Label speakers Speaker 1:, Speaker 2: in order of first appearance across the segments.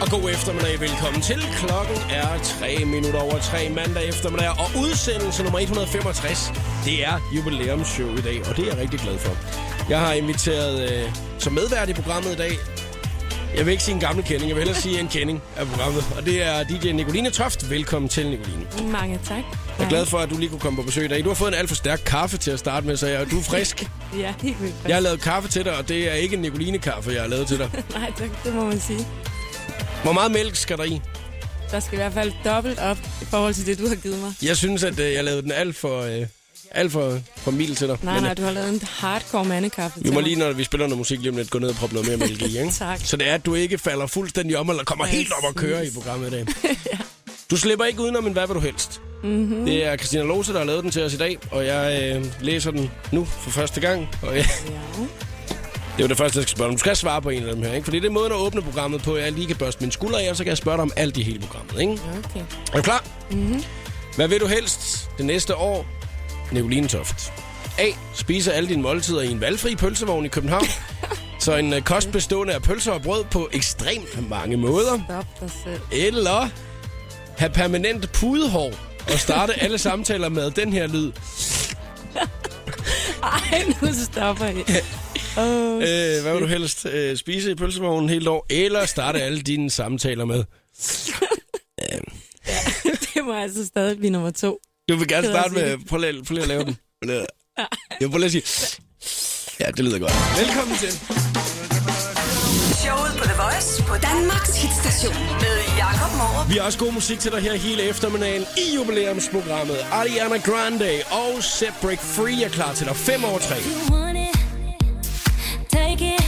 Speaker 1: Og god eftermiddag, velkommen til. Klokken er 3 minutter over 3 mandag eftermiddag, og udsendelse nummer 165, det er jubilæumsshow i dag, og det er jeg rigtig glad for. Jeg har inviteret øh, som medvært i programmet i dag, jeg vil ikke sige en gammel kending, jeg vil hellere sige en kending af programmet, og det er DJ Nicoline Toft. Velkommen til, Nicoline.
Speaker 2: Mange tak.
Speaker 1: Jeg er glad for, at du lige kunne komme på besøg i dag. Du har fået en alt for stærk kaffe til at starte med, så jeg, du er frisk.
Speaker 2: Ja, helt vildt.
Speaker 1: Jeg har lavet kaffe til dig, og det er ikke en Nicoline-kaffe, jeg har lavet til dig.
Speaker 2: Nej, tak, det må man sige.
Speaker 1: Hvor meget mælk skal der i?
Speaker 2: Der skal i hvert fald dobbelt op i forhold til det, du har givet mig.
Speaker 1: Jeg synes, at øh, jeg lavede den alt for, øh, alt for, for mild til dig.
Speaker 2: Nej,
Speaker 1: Men,
Speaker 2: nej,
Speaker 1: øh,
Speaker 2: du har lavet en hardcore mandekaffe
Speaker 1: Vi
Speaker 2: til
Speaker 1: må
Speaker 2: mig.
Speaker 1: lige, når vi spiller noget musik lige om lidt, gå ned og proppe noget mere mælk i, ikke?
Speaker 2: Tak.
Speaker 1: Så det er, at du ikke falder fuldstændig om, eller kommer helt op og køre i programmet i dag. Du slipper ikke udenom en hvad vil du helst. Mm-hmm.
Speaker 2: Mhm.
Speaker 1: Det er Christina Lose, der har lavet den til os i dag, og jeg øh, læser den nu for første gang. Og, øh,
Speaker 2: Ja.
Speaker 1: Det var det første, jeg skal spørge om. Du skal svare på en af dem her, ikke? Fordi det er måden at åbne programmet på, at jeg lige kan børste min skulder af, og så kan jeg spørge dig om alt i hele programmet, ikke?
Speaker 2: Okay.
Speaker 1: Er du klar? Mm-hmm. Hvad vil du helst det næste år? Nicoline Toft. A. Spiser alle dine måltider i en valgfri pølsevogn i København. så en øh, kost bestående af pølser og brød på ekstremt mange måder.
Speaker 2: Stop dig selv.
Speaker 1: Eller have permanent pudehår og starte alle samtaler med den her lyd.
Speaker 2: Ej, nu stopper I. Oh,
Speaker 1: Øh, hvad vil du helst? Øh, spise i pølsevognen hele år, eller starte alle dine samtaler med?
Speaker 2: det må altså stadig blive nummer to.
Speaker 1: Du vil gerne
Speaker 2: Kan jeg
Speaker 1: starte
Speaker 2: sige
Speaker 1: med... Prøv lige, prøv lige at lave den. Jeg prøver lige at sige... Ja, det lyder godt. Velkommen til.
Speaker 3: Showet på The Voice på Danmarks hitstation med Jakob Morup.
Speaker 1: Vi har også god musik til dig her hele eftermiddagen i jubilæumsprogrammet. Ariana Grande og Set Break Free er klar til dig 5 over 3.
Speaker 4: You want it, take it.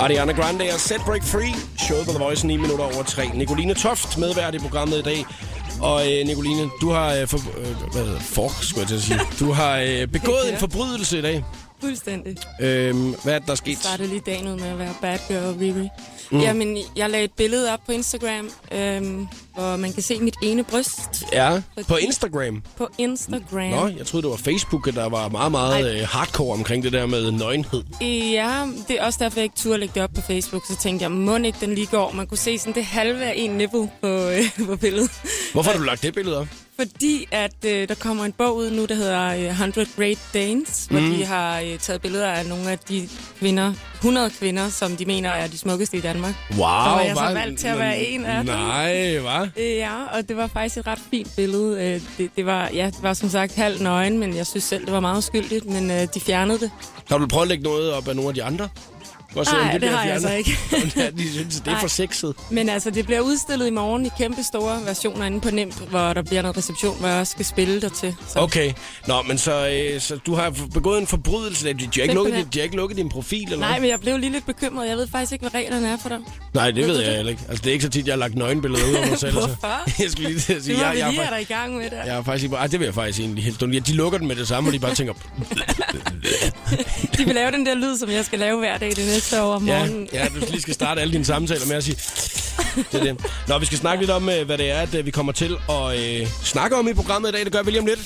Speaker 1: Ariana Grande og Set Break Free. Showet på The Voice 9 minutter over 3. Nicoline Toft medvært i programmet i dag. Og øh, Nicoline, du har... Øh, for, øh, hvad hedder det? Fork, skulle jeg til at sige. Du har øh, begået en forbrydelse i dag.
Speaker 2: Fuldstændig.
Speaker 1: Øhm, hvad er det, der er sket?
Speaker 2: startede lige dagen ud med at være bad girl, Riri. Mm. Jamen, jeg lagde et billede op på Instagram, øhm, hvor man kan se mit ene bryst
Speaker 1: Ja, på Instagram.
Speaker 2: på Instagram.
Speaker 1: Nå, jeg troede, det var Facebook, der var meget, meget øh, hardcore omkring det der med nøgenhed.
Speaker 2: Ja, det er også derfor, jeg ikke turde lægge det op på Facebook. Så tænkte jeg, må ikke den lige går. Man kunne se sådan det halve af en nipple på, øh, på billedet.
Speaker 1: Hvorfor har du lagt det billede op?
Speaker 2: Fordi at øh, der kommer en bog ud nu, der hedder øh, 100 Great Danes, hvor de har øh, taget billeder af nogle af de kvinder, 100 kvinder, som de mener er de smukkeste i Danmark.
Speaker 1: Wow,
Speaker 2: var jeg så
Speaker 1: hva?
Speaker 2: valgt til at være en af dem.
Speaker 1: Nej, hvad?
Speaker 2: Øh, ja, og det var faktisk et ret fint billede. Øh, det, det, var, ja, det var som sagt halv nøgen, men jeg synes selv, det var meget skyldigt, men øh, de fjernede det.
Speaker 1: Har du prøvet at lægge noget op af nogle af de andre? Hvor ser, om
Speaker 2: Nej, det
Speaker 1: bliver
Speaker 2: har jeg
Speaker 1: fjernet?
Speaker 2: altså ikke.
Speaker 1: Ja, de synes, det er for sexet.
Speaker 2: Men altså, det bliver udstillet i morgen i kæmpe store versioner inde på Nemt, hvor der bliver noget reception, hvor jeg også skal spille der til. Så
Speaker 1: Okay, nå, men så, øh, så du har begået en forbrydelse. De, de, har ikke lukket,
Speaker 2: Simpelthen.
Speaker 1: din- de har ikke lukket din profil, eller
Speaker 2: Nej,
Speaker 1: hvad?
Speaker 2: men jeg blev lige lidt bekymret. Jeg ved faktisk ikke, hvad reglerne er for dig.
Speaker 1: Nej, det
Speaker 2: Ved
Speaker 1: ved
Speaker 2: du
Speaker 1: jeg
Speaker 2: det?
Speaker 1: heller ikke. Altså, det er ikke så tit, jeg har lagt nøgenbilleder ud af mig selv. altså.
Speaker 2: Hvorfor?
Speaker 1: Jeg skulle lige til at
Speaker 2: Det
Speaker 1: sige,
Speaker 2: må
Speaker 1: jeg,
Speaker 2: vi
Speaker 1: jeg,
Speaker 2: lige have
Speaker 1: jeg,
Speaker 2: dig i gang med der.
Speaker 1: jeg er faktisk ikke... Ej, det vil jeg faktisk egentlig helst undgå. De lukker den med det samme, og de bare tænker...
Speaker 2: De vil lave den der lyd, som jeg skal lave hver dag det næste år om
Speaker 1: Ja,
Speaker 2: morgenen.
Speaker 1: ja, du skal lige skal starte alle dine samtaler med at sige... Det er det. Nå, vi skal snakke lidt om, øh, hvad det er, at øh, vi kommer til at øh, snakke om i programmet i dag. Det gør vi lige om lidt.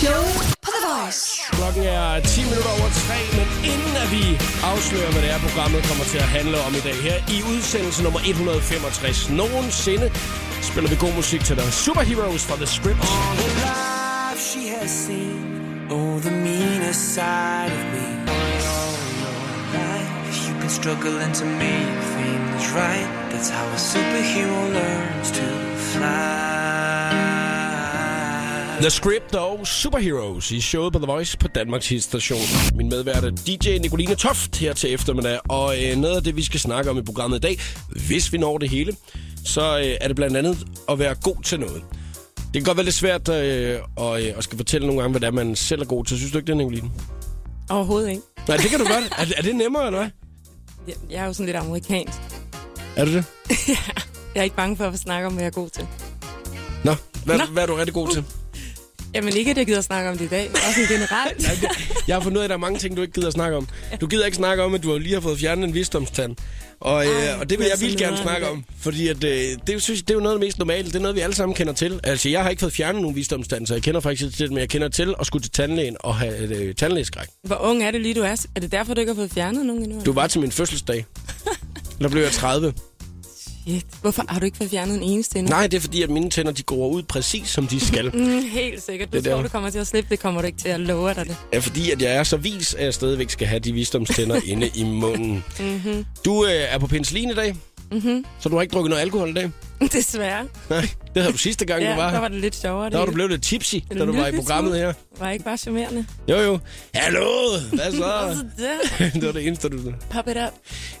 Speaker 3: Showet på The Voice.
Speaker 1: Klokken er 10 minutter over 3, men inden at vi afslører, hvad det er, programmet kommer til at handle om i dag her i udsendelse nummer 165 nogensinde, spiller vi god musik til dig. Superheroes fra The Script.
Speaker 5: All her life she has seen oh the meanest side of me. Oh, All your life you've been struggling to make things right. That's how a superhero learns to fly.
Speaker 1: The Script og Superheroes i showet på The Voice på Danmarks Hitstation. Min medvært er DJ Nicoline Toft her til eftermiddag, og øh, noget af det, vi skal snakke om i programmet i dag, hvis vi når det hele, så øh, er det blandt andet at være god til noget. Det kan godt være lidt svært øh, at, øh, at skal fortælle nogle gange, hvad det er, man selv er god til. Synes du ikke det, Nicoline?
Speaker 2: Overhovedet ikke.
Speaker 1: Nej, det kan du godt. Er, er det nemmere, eller hvad?
Speaker 2: Jeg, jeg er jo sådan lidt amerikansk.
Speaker 1: Er det det?
Speaker 2: Jeg er ikke bange for at snakke om, hvad jeg er god til.
Speaker 1: Nå, hvad,
Speaker 2: Nå.
Speaker 1: hvad er du rigtig god til?
Speaker 2: Jamen ikke, at jeg gider at snakke om det i dag. Bare sådan generelt.
Speaker 1: Nej, det- Jeg har fundet ud af, at der er mange ting, du ikke gider at snakke om. Du gider ikke snakke om, at du lige har fået fjernet en visdomstand. Og, øh, og det vil
Speaker 2: det er
Speaker 1: jeg
Speaker 2: så
Speaker 1: vildt gerne
Speaker 2: nederen
Speaker 1: snakke
Speaker 2: i dag.
Speaker 1: om, fordi at, øh, det, synes, jeg, det er jo noget af det mest normale. Det er noget, vi alle sammen kender til. Altså, jeg har ikke fået fjernet nogen visdomstand, så jeg kender faktisk ikke til det, men jeg kender til at skulle til tandlægen og have øh, tandlægeskræk.
Speaker 2: Hvor ung er det lige, du er? Er det derfor, du ikke har fået fjernet nogen endnu?
Speaker 1: Du var til min fødselsdag. Der blev jeg 30.
Speaker 2: Shit. Hvorfor har du ikke fået fjernet en eneste endnu?
Speaker 1: Nej, det er fordi, at mine tænder de går ud præcis, som de skal.
Speaker 2: Mm, helt sikkert. Du
Speaker 1: Det
Speaker 2: det
Speaker 1: er
Speaker 2: tror,
Speaker 1: der.
Speaker 2: du kommer til at slippe. Det kommer du ikke til at love dig det.
Speaker 1: er fordi, at jeg er så vis, at jeg stadigvæk skal have de visdomstænder inde i munden. Mm-hmm. Du øh, er på penicillin i dag, mm-hmm. så du har ikke drukket noget alkohol i dag?
Speaker 2: Desværre.
Speaker 1: Nej, det havde du sidste gang,
Speaker 2: Ja,
Speaker 1: du var
Speaker 2: der
Speaker 1: her.
Speaker 2: var det lidt sjovere.
Speaker 1: Der var
Speaker 2: det
Speaker 1: du
Speaker 2: hele.
Speaker 1: blevet lidt tipsy,
Speaker 2: En
Speaker 1: da du var i
Speaker 2: lille
Speaker 1: programmet
Speaker 2: smule.
Speaker 1: her.
Speaker 2: Var ikke bare charmerende?
Speaker 1: Jo, jo. Hallo, hvad så?
Speaker 2: Altså, der.
Speaker 1: det var det eneste, du...
Speaker 2: Pop it up.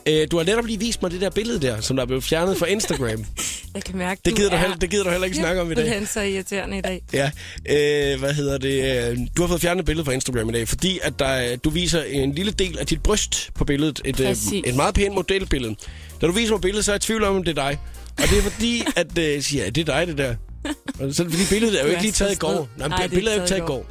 Speaker 1: Øh, du har netop lige vist mig det der billede der, som der er blevet fjernet fra Instagram.
Speaker 2: Jeg kan mærke,
Speaker 1: Det gider du,
Speaker 2: er
Speaker 1: heller, det gider du heller ikke snakke om i dag.
Speaker 2: simpelthen så irriterende i dag.
Speaker 1: Ja, øh, hvad hedder det? øh, Du har fået fjernet billedet fra Instagram i dag, fordi at der, øh, du viser en lille del af dit bryst på billedet. Et, øh,
Speaker 2: Præcis.
Speaker 1: et meget pænt modelbillede. Da du viser mig billedet, så er jeg i tvivl om, om det er dig. Og det er fordi, at øh, jeg siger, ja, det er dig, det der. Og så, fordi billedet er jo
Speaker 2: Du
Speaker 1: ikke
Speaker 2: er
Speaker 1: lige
Speaker 2: så
Speaker 1: taget i
Speaker 2: sød.
Speaker 1: går. Nej, men det
Speaker 2: Nej, det er
Speaker 1: billedet er jo ikke
Speaker 2: ikke
Speaker 1: taget i går.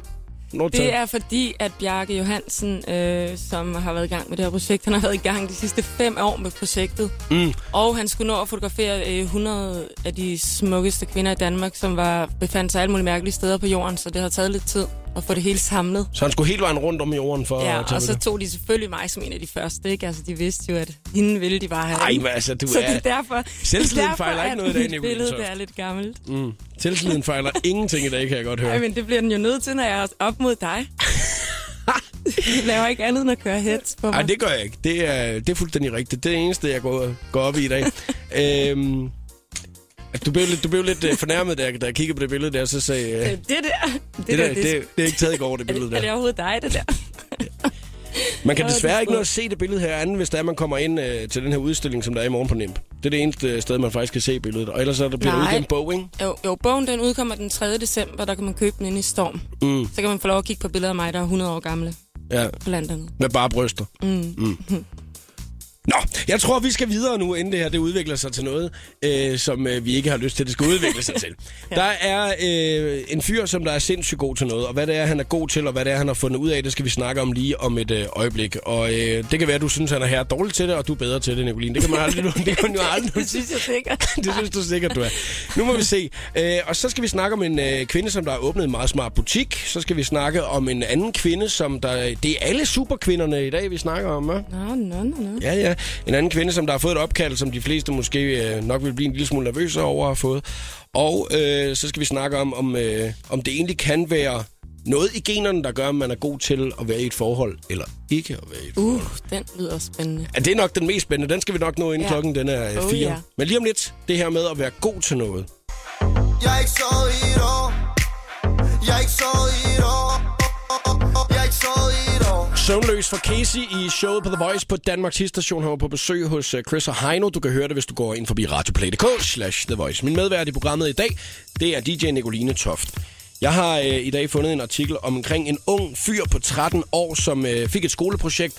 Speaker 1: Når
Speaker 2: Det er fordi, at Bjarke Johansen, øh, som har været i gang med det her projekt, han har været i gang de sidste fem år med projektet.
Speaker 1: Mm.
Speaker 2: Og han skulle nå at fotografere øh, 100 af de smukkeste kvinder i Danmark, som var befandt sig alle mulige mærkelige steder på jorden, så det har taget lidt tid at få det hele samlet.
Speaker 1: Så han skulle hele vejen rundt om jorden for at
Speaker 2: Ja,
Speaker 1: tage
Speaker 2: og så
Speaker 1: billeder.
Speaker 2: tog de selvfølgelig mig som en af de første, ikke? Altså, de vidste jo, at hende ville de bare have.
Speaker 1: Ej, men altså, du
Speaker 2: så det
Speaker 1: er-
Speaker 2: er derfor,
Speaker 1: Selvtilliden
Speaker 2: det er derfor,
Speaker 1: fejler ikke
Speaker 2: at
Speaker 1: noget i dag,
Speaker 2: mit
Speaker 1: Nicoline
Speaker 2: billede
Speaker 1: Toft.
Speaker 2: det er lidt gammelt.
Speaker 1: Mm. Tilsliden fejler ingenting i dag, kan jeg godt høre.
Speaker 2: Ej, men det bliver den jo nødt til, når jeg er op mod dig. Jeg laver ikke andet end at køre heads på mig.
Speaker 1: Nej, det gør jeg ikke. Det er, det er fuldstændig rigtigt. Det er det eneste, jeg går, går op i i dag. øhm, altså, du blev lidt, du blev lidt øh, fornærmet, da jeg, da jeg kiggede på det billede der, så sagde jeg, øh, det,
Speaker 2: det der, det,
Speaker 1: det,
Speaker 2: der,
Speaker 1: der, det, det, er ikke taget i går, det billede
Speaker 2: er det
Speaker 1: der.
Speaker 2: overhovedet dig, det der?
Speaker 1: Man kan
Speaker 2: Åh, det er
Speaker 1: desværre ikke
Speaker 2: smukt.
Speaker 1: nå at se det billede her andet, hvis det er, man kommer ind øh, til den her udstilling, som der er i morgen på NIMP. Det er det eneste øh, sted, man faktisk kan se billedet. Og ellers er der bliver der
Speaker 2: Nej.
Speaker 1: udgivet en bog, ikke?
Speaker 2: Jo, jo, bogen den udkommer den 3. december, der kan man købe den inde i Storm.
Speaker 1: Mm,
Speaker 2: Så kan man få lov at kigge på billeder af mig, der er 100 år gamle,
Speaker 1: ja,
Speaker 2: blandt andet.
Speaker 1: med bare bryster.
Speaker 2: Mm.
Speaker 1: Nå, jeg tror, vi skal videre nu, inden det her det udvikler sig til noget, øh, som øh, vi ikke har lyst til, det skal udvikle sig til. ja. Der er øh, en fyr, som der er sindssygt god til noget, og hvad det er, han er god til, og hvad det er, han har fundet ud af, det skal vi snakke om lige om et øh, øjeblik. Og øh, det kan være, at du synes, han er her dårlig til det, og du er bedre til det, Nicoline. Det kan man aldrig, det kan man jo aldrig
Speaker 2: Det synes jeg sikkert.
Speaker 1: det synes du sikkert, du er. Nu må vi se. Øh, og så skal vi snakke om en øh, kvinde, som der har åbnet en meget smart butik. Så skal vi snakke om en anden kvinde, som der... Det er alle superkvinderne i dag, vi snakker om, hva'?
Speaker 2: Nå, nå, nå, nå.
Speaker 1: Ja, ja. En anden kvinde, som der har fået et opkald, som de fleste måske øh, nok vil blive en lille smule nervøse over at have fået. Og øh, så skal vi snakke om, om, øh, om det egentlig kan være noget i generne, der gør, at man er god til at være i et forhold, eller ikke at være i et forhold.
Speaker 2: Uh, den lyder spændende.
Speaker 1: Ja, det er nok den mest spændende. Den skal vi nok nå inden ja.
Speaker 2: Ja.
Speaker 1: klokken den er øh,
Speaker 2: Oh,
Speaker 1: fire.
Speaker 2: ja.
Speaker 1: Men lige om lidt, det her med at være god til noget.
Speaker 6: Jeg er ikke sovet i et år Jeg er ikke sovet i et år Jeg er ikke sovet i et år
Speaker 1: Søvnløs for Casey i showet på The Voice på Danmarks Hitstation. Han var på besøg hos øh, Chris og Heino. Du kan høre det, hvis du går ind forbi radioplay.dk slash The Voice. Min medvært i programmet i dag, det er DJ Nicoline Toft. Jeg har øh, i dag fundet en artikel omkring en ung fyr på 13 år, som øh, fik et skoleprojekt.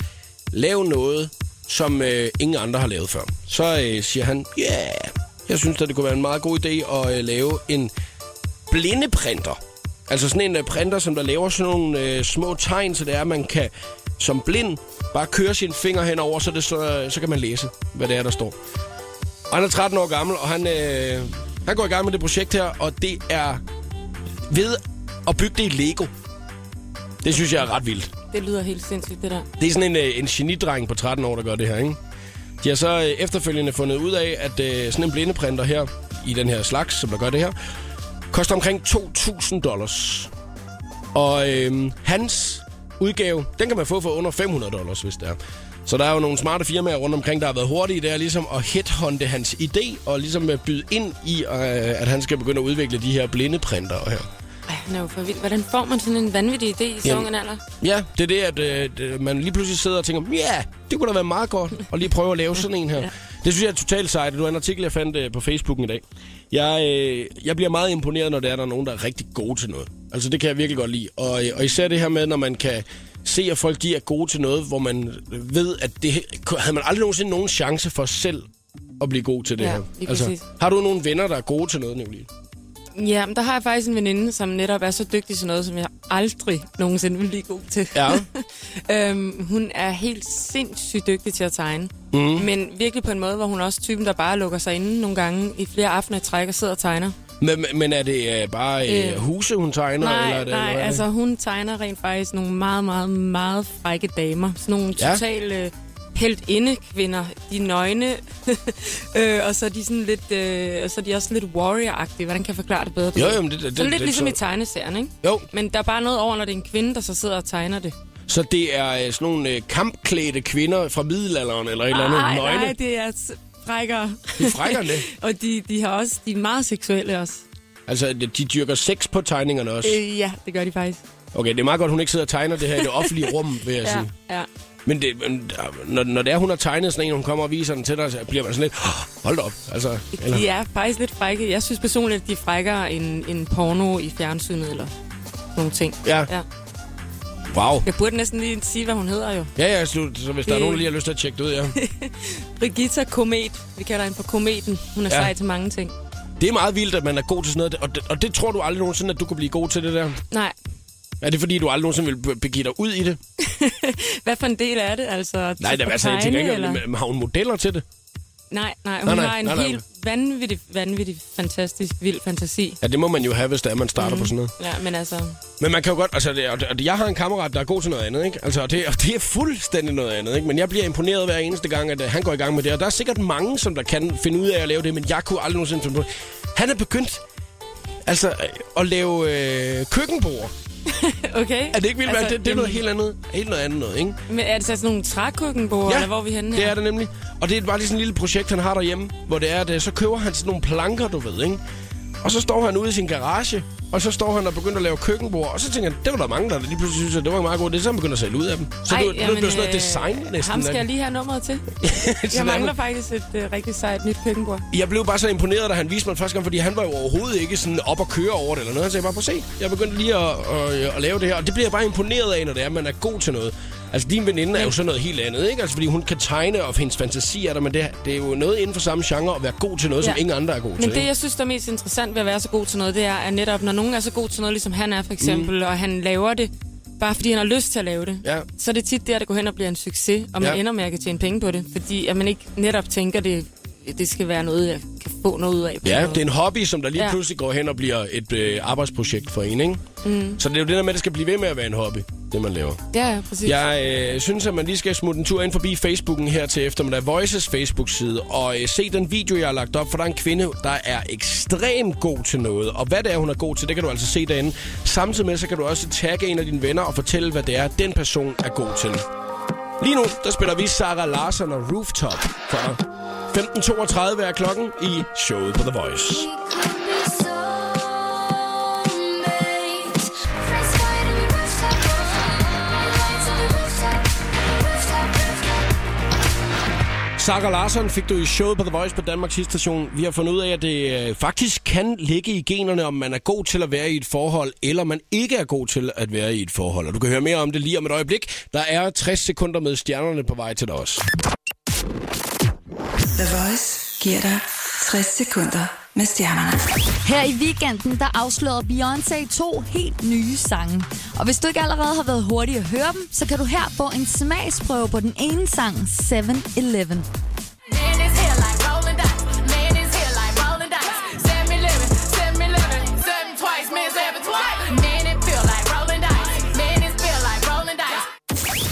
Speaker 1: Lav noget, som øh, ingen andre har lavet før. Så øh, siger han, ja, yeah, jeg synes, at det kunne være en meget god idé at øh, lave en blindeprinter. Altså sådan en øh, printer, som der laver sådan nogle øh, små tegn, så det er, at man kan som blind bare køre sine fingre henover, så, det, så, så kan man læse, hvad det er, der står. Og han er 13 år gammel, og han, øh, han går i gang med det projekt her, og det er ved at bygge det i Lego. Det synes jeg er ret vildt.
Speaker 2: Det lyder helt sindssygt, det der.
Speaker 1: Det er sådan en, øh, en genidreng på 13 år, der gør det her, ikke? De har så øh, efterfølgende fundet ud af, at øh, sådan en blindeprinter her, i den her slags, som der gør det her, koster omkring 2.000 dollars. Og øh, hans udgave, den kan man få for under 500 dollars, hvis det er. Så der er jo nogle smarte firmaer rundt omkring, der har været hurtige der, ligesom at headhunte hans idé, og ligesom at byde ind i, øh, at han skal begynde at udvikle de her blindeprinter her.
Speaker 2: Ej, han er jo for vild. Hvordan får man sådan en vanvittig idé i så
Speaker 1: Jamen-
Speaker 2: ung en alder?
Speaker 1: Ja, det er det, at øh, det- man lige pludselig sidder og tænker, ja, yeah, det kunne da være meget godt at lige prøve at lave sådan en her. ja. Det synes jeg er totalt sejt. Det var en artikel, jeg fandt øh, på Facebooken i dag. Jeg, øh, jeg bliver meget imponeret, når der er, der er nogen, der er rigtig gode til noget. Altså, det kan jeg virkelig godt lide. Og, øh, og især det her med, når man kan se, at folk de er gode til noget, hvor man ved, at det havde man aldrig nogensinde nogen chance for selv at blive god til det
Speaker 2: Ja,
Speaker 1: her. Altså,
Speaker 2: lige præcis.
Speaker 1: har du nogle venner, der er gode til noget, Nicoline?
Speaker 2: Ja, men der har jeg faktisk en veninde, som netop er så dygtig til noget, som jeg aldrig nogensinde vil blive god til.
Speaker 1: Ja.
Speaker 2: øhm, hun er helt sindssygt dygtig til at tegne. Mm. Men virkelig på en måde, hvor hun er også typen, der bare lukker sig inde nogle gange i flere aftener i træk og sidder og tegner.
Speaker 1: Men, men- men er det øh, bare øh,
Speaker 2: Øh,
Speaker 1: huse, hun tegner? eller er
Speaker 2: Nej,
Speaker 1: det,
Speaker 2: nej,
Speaker 1: eller hvad er det?
Speaker 2: altså hun tegner rent faktisk nogle meget, meget, meget frække damer. Sådan nogle
Speaker 1: Ja.
Speaker 2: ja. totale heltinde kvinder. De er nøgne, øh, og så er de sådan lidt, øh, og så er de også lidt warrior-agtige. Hvordan kan jeg forklare det bedre?
Speaker 1: Jo, jo, men det- det-
Speaker 2: sådan
Speaker 1: det-
Speaker 2: lidt
Speaker 1: det-
Speaker 2: ligesom
Speaker 1: så-
Speaker 2: i tegneserien, ikke?
Speaker 1: Jo.
Speaker 2: Men der er bare noget over, når det er en kvinde, der så sidder og tegner det.
Speaker 1: Så det er øh, sådan nogle øh, kampklædte kvinder fra middelalderen eller et eller andet?
Speaker 2: nej,
Speaker 1: nøgne?
Speaker 2: nej, det er s- frækkere.
Speaker 1: Det er frækkere end det.
Speaker 2: og de, de, har også, de er meget seksuelle også.
Speaker 1: Altså, de de dyrker sex på tegningerne også?
Speaker 2: Øh, ja, det gør de faktisk.
Speaker 1: Okay, det er meget godt, hun ikke sidder og tegner det her i det offentlige rum, vil jeg sige.
Speaker 2: Ja, ja.
Speaker 1: Men, det, men der- når, når det er, hun har tegnet sådan en, og hun kommer og viser den til dig, så bliver man sådan lidt, "Åh, hold da op. Altså, eller,
Speaker 2: De er faktisk lidt frække. Jeg synes personligt, at de er frækkere end, end porno i fjernsynet eller nogle ting.
Speaker 1: Ja.
Speaker 2: ja.
Speaker 1: wow.
Speaker 2: Jeg burde næsten lige sige, hvad hun hedder jo.
Speaker 1: Ja, ja, så, så hvis der er
Speaker 2: Det-
Speaker 1: nogen, der lige har lyst til at tjekke det ud, ja.
Speaker 2: Brigitta Komet. Vi kalder hende for Kometen. Hun er
Speaker 1: Ja.
Speaker 2: ja. sej til mange ting.
Speaker 1: Det er meget vildt, at man er god til sådan noget, og det, og det tror du aldrig nogensinde, at du kan blive god til det der.
Speaker 2: Nej,
Speaker 1: Er det fordi, du aldrig nogensinde vil be- begive dig ud i det?
Speaker 2: hvad for en del er det? Altså,
Speaker 1: Nej, det er altså, jeg tænker ikke, eller? har hun modeller til det?
Speaker 2: Nej, nej, hun
Speaker 1: Nej, nej,
Speaker 2: nej, nej, har en
Speaker 1: nej,
Speaker 2: nej,
Speaker 1: nej.
Speaker 2: helt vanvittig, vanvittig, fantastisk, vild fantasi.
Speaker 1: Ja, det må man jo have, hvis det er, man starter mm. på sådan noget.
Speaker 2: Ja, men altså,
Speaker 1: Men man kan jo godt, altså, det, og, det- og det- jeg har en kammerat, der er god til noget andet, ikke? Altså, og det, og det er fuldstændig noget andet, ikke? Men jeg bliver imponeret hver eneste gang, at øh, han går i gang med det. Og der er sikkert mange, som der kan finde ud af at lave det, men jeg kunne aldrig nogensinde finde på det. Han er begyndt, altså, øh, at lave øh, køkkenbord.
Speaker 2: okay.
Speaker 1: Er det ikke vildt, altså,
Speaker 2: altså,
Speaker 1: det, det er noget
Speaker 2: jamen,
Speaker 1: helt andet, helt noget andet noget, ikke?
Speaker 2: Men er det så sådan nogle trækøkkenbord, ja, eller hvor er vi henne her?
Speaker 1: det er det nemlig. Og det er bare lige sådan en lille projekt, han har derhjemme, hvor det er, at øh, så køber han sådan nogle planker, du ved, ikke? Og så står han ude i sin garage, og så står han og begynder at lave køkkenbord, og så tænker han, det var der mange, der lige pludselig synes, at det var en meget god idé, så han begynder at sælge ud af dem. Så det, det blev sådan noget
Speaker 2: øh,
Speaker 1: design næsten.
Speaker 2: Ham skal
Speaker 1: ikke?
Speaker 2: jeg lige have nummeret til.
Speaker 1: Sådan
Speaker 2: Jeg
Speaker 1: er
Speaker 2: mangler
Speaker 1: man.
Speaker 2: faktisk et øh, rigtig sejt nyt køkkenbord.
Speaker 1: jeg blev bare så imponeret, da han viste mig det første gang, fordi han var jo overhovedet ikke sådan op og køre over det eller noget. Han sagde bare, prøv at se, jeg begyndte lige at, at, at, lave det her. Og det bliver jeg bare imponeret af, når det er, at man er god til noget. Altså, din veninde er jo sådan noget helt andet, ikke? Altså, fordi hun kan tegne, og hendes fantasi er der, men det, det er jo noget inden for samme genre at være god til noget, ja.
Speaker 2: Ja.
Speaker 1: som ingen andre er god til.
Speaker 2: Men det,
Speaker 1: ikke?
Speaker 2: jeg synes, der er mest interessant ved at være så god til noget, det er, at netop når nogen er så god til noget, ligesom han er for eksempel, mm. og han laver det, bare fordi han har lyst til at lave det,
Speaker 1: Ja.
Speaker 2: så er det tit der, det går hen og bliver en succes, og man
Speaker 1: Ja.
Speaker 2: ja. ender med at kan tjene penge på det, fordi at man ikke netop tænker, det, det skal være noget, jeg kan få noget ud af. på
Speaker 1: Ja,
Speaker 2: noget.
Speaker 1: det er en hobby, som der lige ja.
Speaker 2: Ja.
Speaker 1: pludselig går hen og bliver et øh, arbejdsprojekt for en, ikke? Mm. Så det er jo det der med, at det skal blive ved med at være en hobby, det man laver.
Speaker 2: Ja, ja, præcis. Ja.
Speaker 1: Jeg øh, synes, at man lige skal smutte en tur ind forbi Facebooken her til eftermiddag. Voices Facebook-side. Og øh, se den video, jeg har lagt op, for der er en kvinde, der er ekstremt god til noget. Og hvad det er, hun er god til, det kan du altså se derinde. Samtidig med, så kan du også tagge en af dine venner og fortælle, hvad det er, den person er god til. Lige nu, der spiller vi Sarah Larsen og Rooftop for 15.32 er klokken i showet på The Voice. Sager Larsson fik du i showet på The Voice på Danmarks station. Vi har fundet ud af, at det øh, faktisk kan ligge i generne, om man er god til at være i et forhold, eller man ikke er god til at være i et forhold. Og du kan høre mere om det lige om et øjeblik. Der er 60 sekunder med stjernerne på vej til dig også.
Speaker 3: The Voice giver dig 60 sekunder med stjernerne.
Speaker 7: Her i weekenden, der afslørede Beyoncé to helt nye sange. Og hvis du ikke allerede har været hurtig at høre dem, så kan du her få en smagsprøve på den ene sang, 7-Eleven.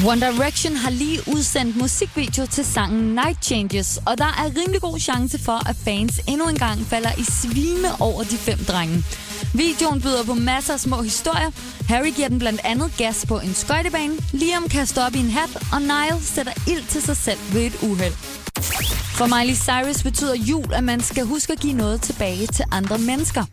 Speaker 7: One Direction har lige udsendt musikvideo til sangen Night Changes, og der er rimelig god chance for, at fans endnu en gang falder i svime over de fem drenge. Videoen byder på masser af små historier. Harry giver den blandt andet gas på en skøjtebane, Liam kaster op i en hat, og Niall sætter ild til sig selv ved et uheld. For Miley Cyrus betyder jul, at man skal huske at give noget tilbage til andre mennesker.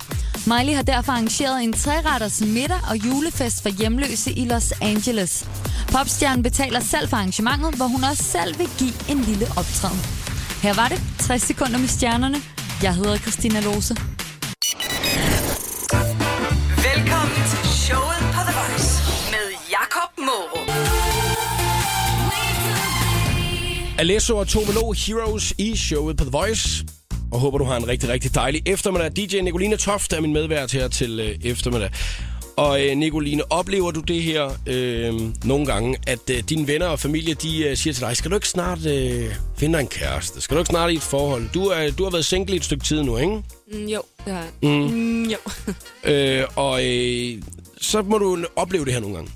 Speaker 7: Miley har derfor arrangeret en træretters middag og julefest for hjemløse i Los Angeles. Popstjernen betaler selv for arrangementet, hvor hun også selv vil give en lille optræden. Her var det 60 sekunder med stjernerne. Jeg hedder Christina Lose.
Speaker 3: Velkommen til showet på The Voice med Jakob Morup.
Speaker 1: Alesso og Tomelo Heroes i showet på The Voice. og håber, du har en rigtig, rigtig dejlig eftermiddag. DJ Nicoline Toft er min medvært her til øh, eftermiddag. Og øh, Nicoline, oplever du det her øh, nogle gange, at øh, dine venner og familie, de øh, siger til dig, skal du ikke snart øh, finde dig en kæreste? Skal du ikke snart i et forhold? Du, er, du har været single i et stykke tid nu, ikke?
Speaker 2: Mm, jo, det har jeg. Mm. Jo.
Speaker 1: Øh, og øh, så må du opleve det her nogle gange.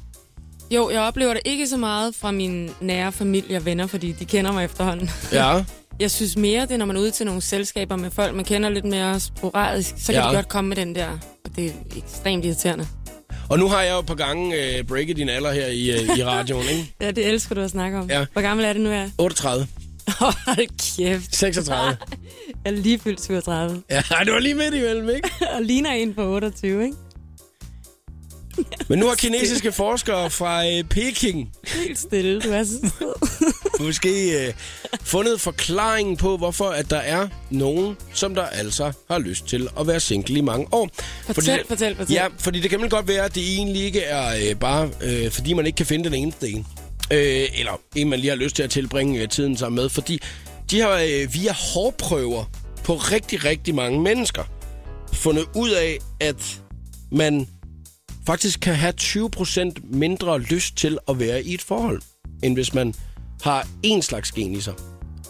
Speaker 2: jo, jeg oplever det ikke så meget fra min nære familie og venner, fordi de kender mig efterhånden.
Speaker 1: Ja.
Speaker 2: Jeg synes mere, det er, når man er ude til nogle selskaber med folk, man kender lidt mere sporadisk, så kan
Speaker 1: Ja.
Speaker 2: ja. de godt komme med den der. Og det er ekstremt irriterende.
Speaker 1: Og nu har jeg jo et par gange øh, breaket din alder her i, øh, i radioen, ikke?
Speaker 2: Ja, det elsker du at snakke om.
Speaker 1: Ja.
Speaker 2: Hvor gammel er det nu, jeg er?
Speaker 1: 38,
Speaker 2: Hold kæft,
Speaker 1: 36.
Speaker 2: jeg er lige fyldt 37.
Speaker 1: Ja, du var lige midt imellem, ikke?
Speaker 2: Og ligner en på 28, ikke?
Speaker 1: Men nu har kinesiske forskere fra øh, Peking
Speaker 2: Helt stille, du er så sød.
Speaker 1: måske øh, fundet forklaringen på, hvorfor at der er nogen, som der altså har lyst til at være single i mange år.
Speaker 2: Fortæl, fortæl, fortæl.
Speaker 1: Ja, fordi det kan vel godt være, at det egentlig ikke er øh, bare, øh, fordi man ikke kan finde den eneste en. Øh, eller en, man lige har lyst til at tilbringe øh, tiden sammen med. Fordi de har øh, via hårprøver på rigtig, rigtig mange mennesker fundet ud af, at man faktisk kan have 20% mindre lyst til at være i et forhold, end hvis man har én slags gen i sig.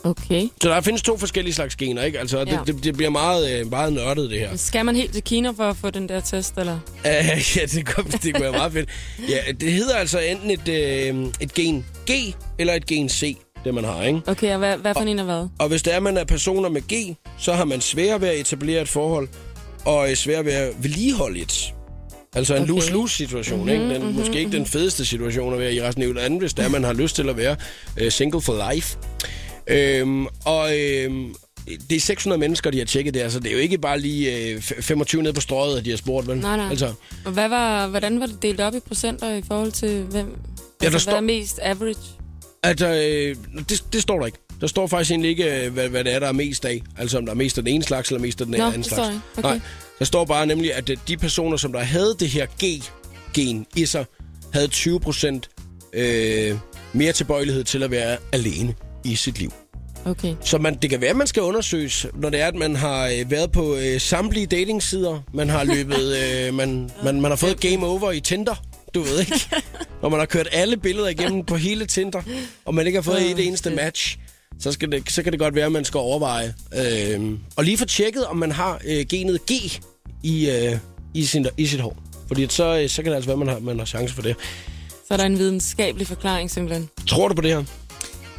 Speaker 2: Okay.
Speaker 1: Så der findes to forskellige slags gener, ikke? Altså, ja.
Speaker 2: Ja.
Speaker 1: det, det, det bliver meget, øh, meget nørdet, det her.
Speaker 2: Skal man helt til Kina for at få den der test, eller?
Speaker 1: Uh, ja, det kunne, det kunne være meget fedt. Ja, det hedder altså enten et, øh, et gen G eller et gen C, det man har, ikke?
Speaker 2: Okay, og hvad, hvad for en er hvad?
Speaker 1: Og hvis det er, at man er personer med G, så har man sværere ved at etablere et forhold, og øh, sværere ved at vedligeholde et. Altså en okay.
Speaker 2: Okay. Mhm,
Speaker 1: lose-lose-situation, ikke? Den, mm-hmm, måske ikke den fedeste situation at være i resten af livet, andet hvis det er, at man har lyst til at være øh, single for life. Øhm, og øhm, det er 600 mennesker, de har tjekket det, altså det er jo ikke bare lige øh, f- 25 nede på strøget, at de har spurgt, vel?
Speaker 2: Nej, nej.
Speaker 1: Altså,
Speaker 2: Og hvad var, hvordan var det delt op i procenter i forhold til hvem?
Speaker 1: der
Speaker 2: altså,
Speaker 1: står-
Speaker 2: Hvad er mest average?
Speaker 1: Altså, øh, det, det står der ikke. Der står faktisk egentlig ikke, øh, hvad, hvad det er, der er mest af. Altså, om der er mest af den ene slags, eller mest af den
Speaker 2: Nå,
Speaker 1: anden
Speaker 2: det
Speaker 1: slags.
Speaker 2: står ikke. Okay.
Speaker 1: Nej, der står bare nemlig, at øh, de personer, som der havde det her G-gen i sig, havde 20 procent øh, mere tilbøjelighed til at være alene i sit liv.
Speaker 2: Okay.
Speaker 1: Så man, det kan være, at man skal undersøges, når det er, at man har øh, været på øh, samtlige datingsider. Man har løbet, øh, man, man, man har fået game over i Tinder, du ved ikke. Når man har kørt alle billeder igennem på hele Tinder, og man ikke har fået et eneste match, så, skal det, så kan det godt være, at man skal overveje. Øh, og lige få tjekket, om man har øh, genet G i, øh, i, sin, i sit hår. Fordi at så, øh, så kan det altså være, at man har, man har chance for det.
Speaker 2: Så er der en videnskabelig forklaring simpelthen.
Speaker 1: Tror du på det her?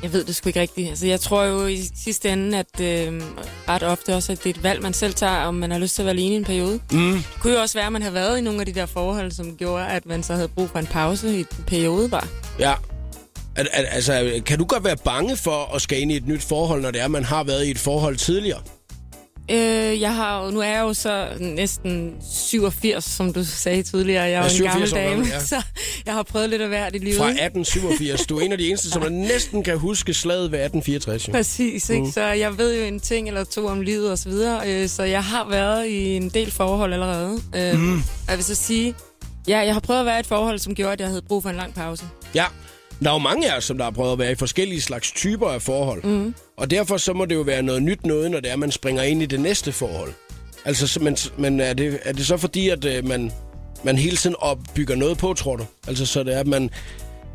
Speaker 2: Jeg ved det sgu ikke rigtigt. Altså, jeg tror jo i sidste ende, at øh, ret ofte også, at det er et valg, man selv tager, om man har lyst til at være alene i en periode. Mm. Det kunne jo også være, at man har været i nogle af de der forhold, som gjorde, at man så havde brug for en pause i en periode bare.
Speaker 1: Ja. Al- al- altså, kan du godt være bange for at skal ind i et nyt forhold, når det er, man har været i et forhold tidligere?
Speaker 2: Øh, jeg har jo, nu er jeg jo så næsten 87, som du sagde tidligere. Jeg er
Speaker 1: Ja,
Speaker 2: jo en
Speaker 1: 87
Speaker 2: gammel
Speaker 1: år
Speaker 2: dame,
Speaker 1: gammel, ja.
Speaker 2: så jeg har prøvet lidt af hvert i livet.
Speaker 1: Fra
Speaker 2: ikke?
Speaker 1: 1887. Du er en af de eneste, som man næsten kan huske slaget ved 1864. jo.
Speaker 2: Præcis,
Speaker 1: Mm.
Speaker 2: ikke? så jeg ved jo en ting eller to om livet og så videre, øh, så jeg har været i en del forhold allerede. Øh, mm. Jeg vil så sige, ja, jeg har prøvet at være i et forhold, som gjorde, at jeg havde brug for en lang pause.
Speaker 1: Ja. Der er jo mange af os, som der har prøvet at være i forskellige slags typer af forhold. Mm. Og derfor så må det jo være noget nyt noget, når det er, man springer ind i det næste forhold. Altså, så- men, men er, det, er det så fordi, at øh, man, man hele tiden opbygger noget på, tror du? Altså, så det er, at man,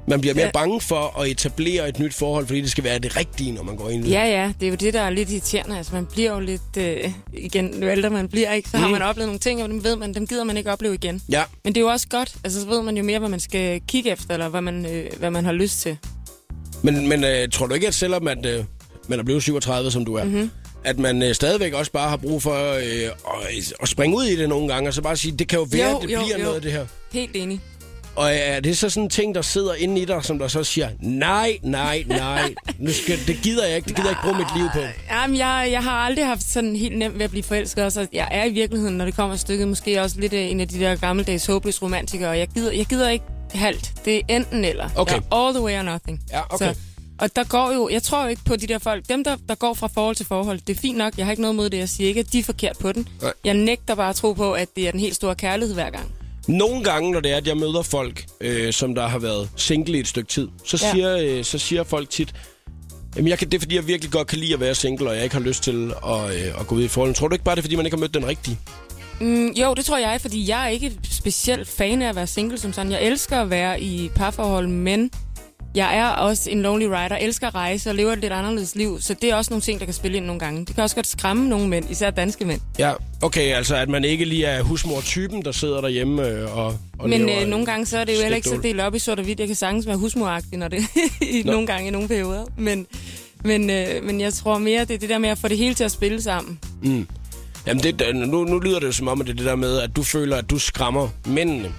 Speaker 1: man bliver mere ja. bange for at etablere et nyt forhold, fordi det skal være det rigtige, når man går ind i det.
Speaker 2: Ja, ja, det er jo det, der er lidt irriterende. Altså, man bliver jo lidt, øh, igen, jo ældre man bliver, ikke? så mm. har man oplevet nogle ting, og dem ved man, dem gider man ikke opleve igen.
Speaker 1: Ja.
Speaker 2: Men det er jo også godt, altså så ved man jo mere, hvad man skal kigge efter, eller hvad man, øh, hvad man har lyst til.
Speaker 1: Men, men øh, tror du ikke, at selvom at, øh, man er blevet 37, som du er,
Speaker 2: Mhm.
Speaker 1: mm-hmm. at man øh, stadigvæk også bare har brug for øh, at, at springe ud i det nogle gange, og så bare sige, det kan jo være,
Speaker 2: Jo,
Speaker 1: at det
Speaker 2: jo,
Speaker 1: bliver
Speaker 2: jo.
Speaker 1: noget af det her.
Speaker 2: Helt enig.
Speaker 1: Og øh, er det så sådan en ting, der sidder inde i dig, som der så siger, nej, nej, nej, nu skal, det gider jeg ikke, det gider jeg ikke bruge mit liv på.
Speaker 2: Jamen, jeg, jeg har aldrig haft sådan helt nemt ved at blive forelsket, og så jeg er i virkeligheden, når det kommer stykket, måske også lidt øh, en af de der gammeldags håbløse romantikere. Jeg gider, jeg gider ikke halvt. Det er enten eller.
Speaker 1: Okay.
Speaker 2: Jeg er all the way or nothing.
Speaker 1: Ja, okay.
Speaker 2: Så, og der går jo, jeg tror jo ikke på de der folk. Dem, der, der går fra forhold til forhold, det er fint nok. Jeg har ikke noget mod det. Jeg siger ikke, at de er forkert på den.
Speaker 1: Nej.
Speaker 2: Jeg nægter bare at tro på, at det er den helt store kærlighed hver gang.
Speaker 1: Nogle gange, når det er, at jeg møder folk, øh, som der har været single i et stykke tid, så,
Speaker 2: Ja.
Speaker 1: siger, øh, så siger folk tit, Jamen, jeg kan, det er, fordi jeg virkelig godt kan lide at være single, og jeg ikke har lyst til at, øh, at gå ud i forhold. Tror du ikke bare, det er, fordi man ikke har mødt den rigtige?
Speaker 2: Mm, jo, det tror jeg, fordi jeg er ikke specielt fan af at være single som sådan. Jeg elsker at være i parforhold, men jeg er også en lonely rider, elsker at rejse og lever et lidt anderledes liv, så det er også nogle ting, der kan spille ind nogle gange. Det kan også godt skræmme nogle mænd, især danske mænd.
Speaker 1: Ja, okay, altså at man ikke lige er husmor-typen, der sidder derhjemme øh, og, og
Speaker 2: Men
Speaker 1: lever,
Speaker 2: øh, nogle gange så er det jo heller ikke så
Speaker 1: slægtdål.
Speaker 2: delt op i sort og hvidt. Jeg kan sagtens være husmoragtig, når det i nogle gange i nogle perioder. Men, men, øh, men jeg tror mere, det er det der med at få det hele til at spille sammen.
Speaker 1: Jamen, det, øh, nu, nu lyder det jo som om, at det er det der med, at du føler, at du skræmmer mændene.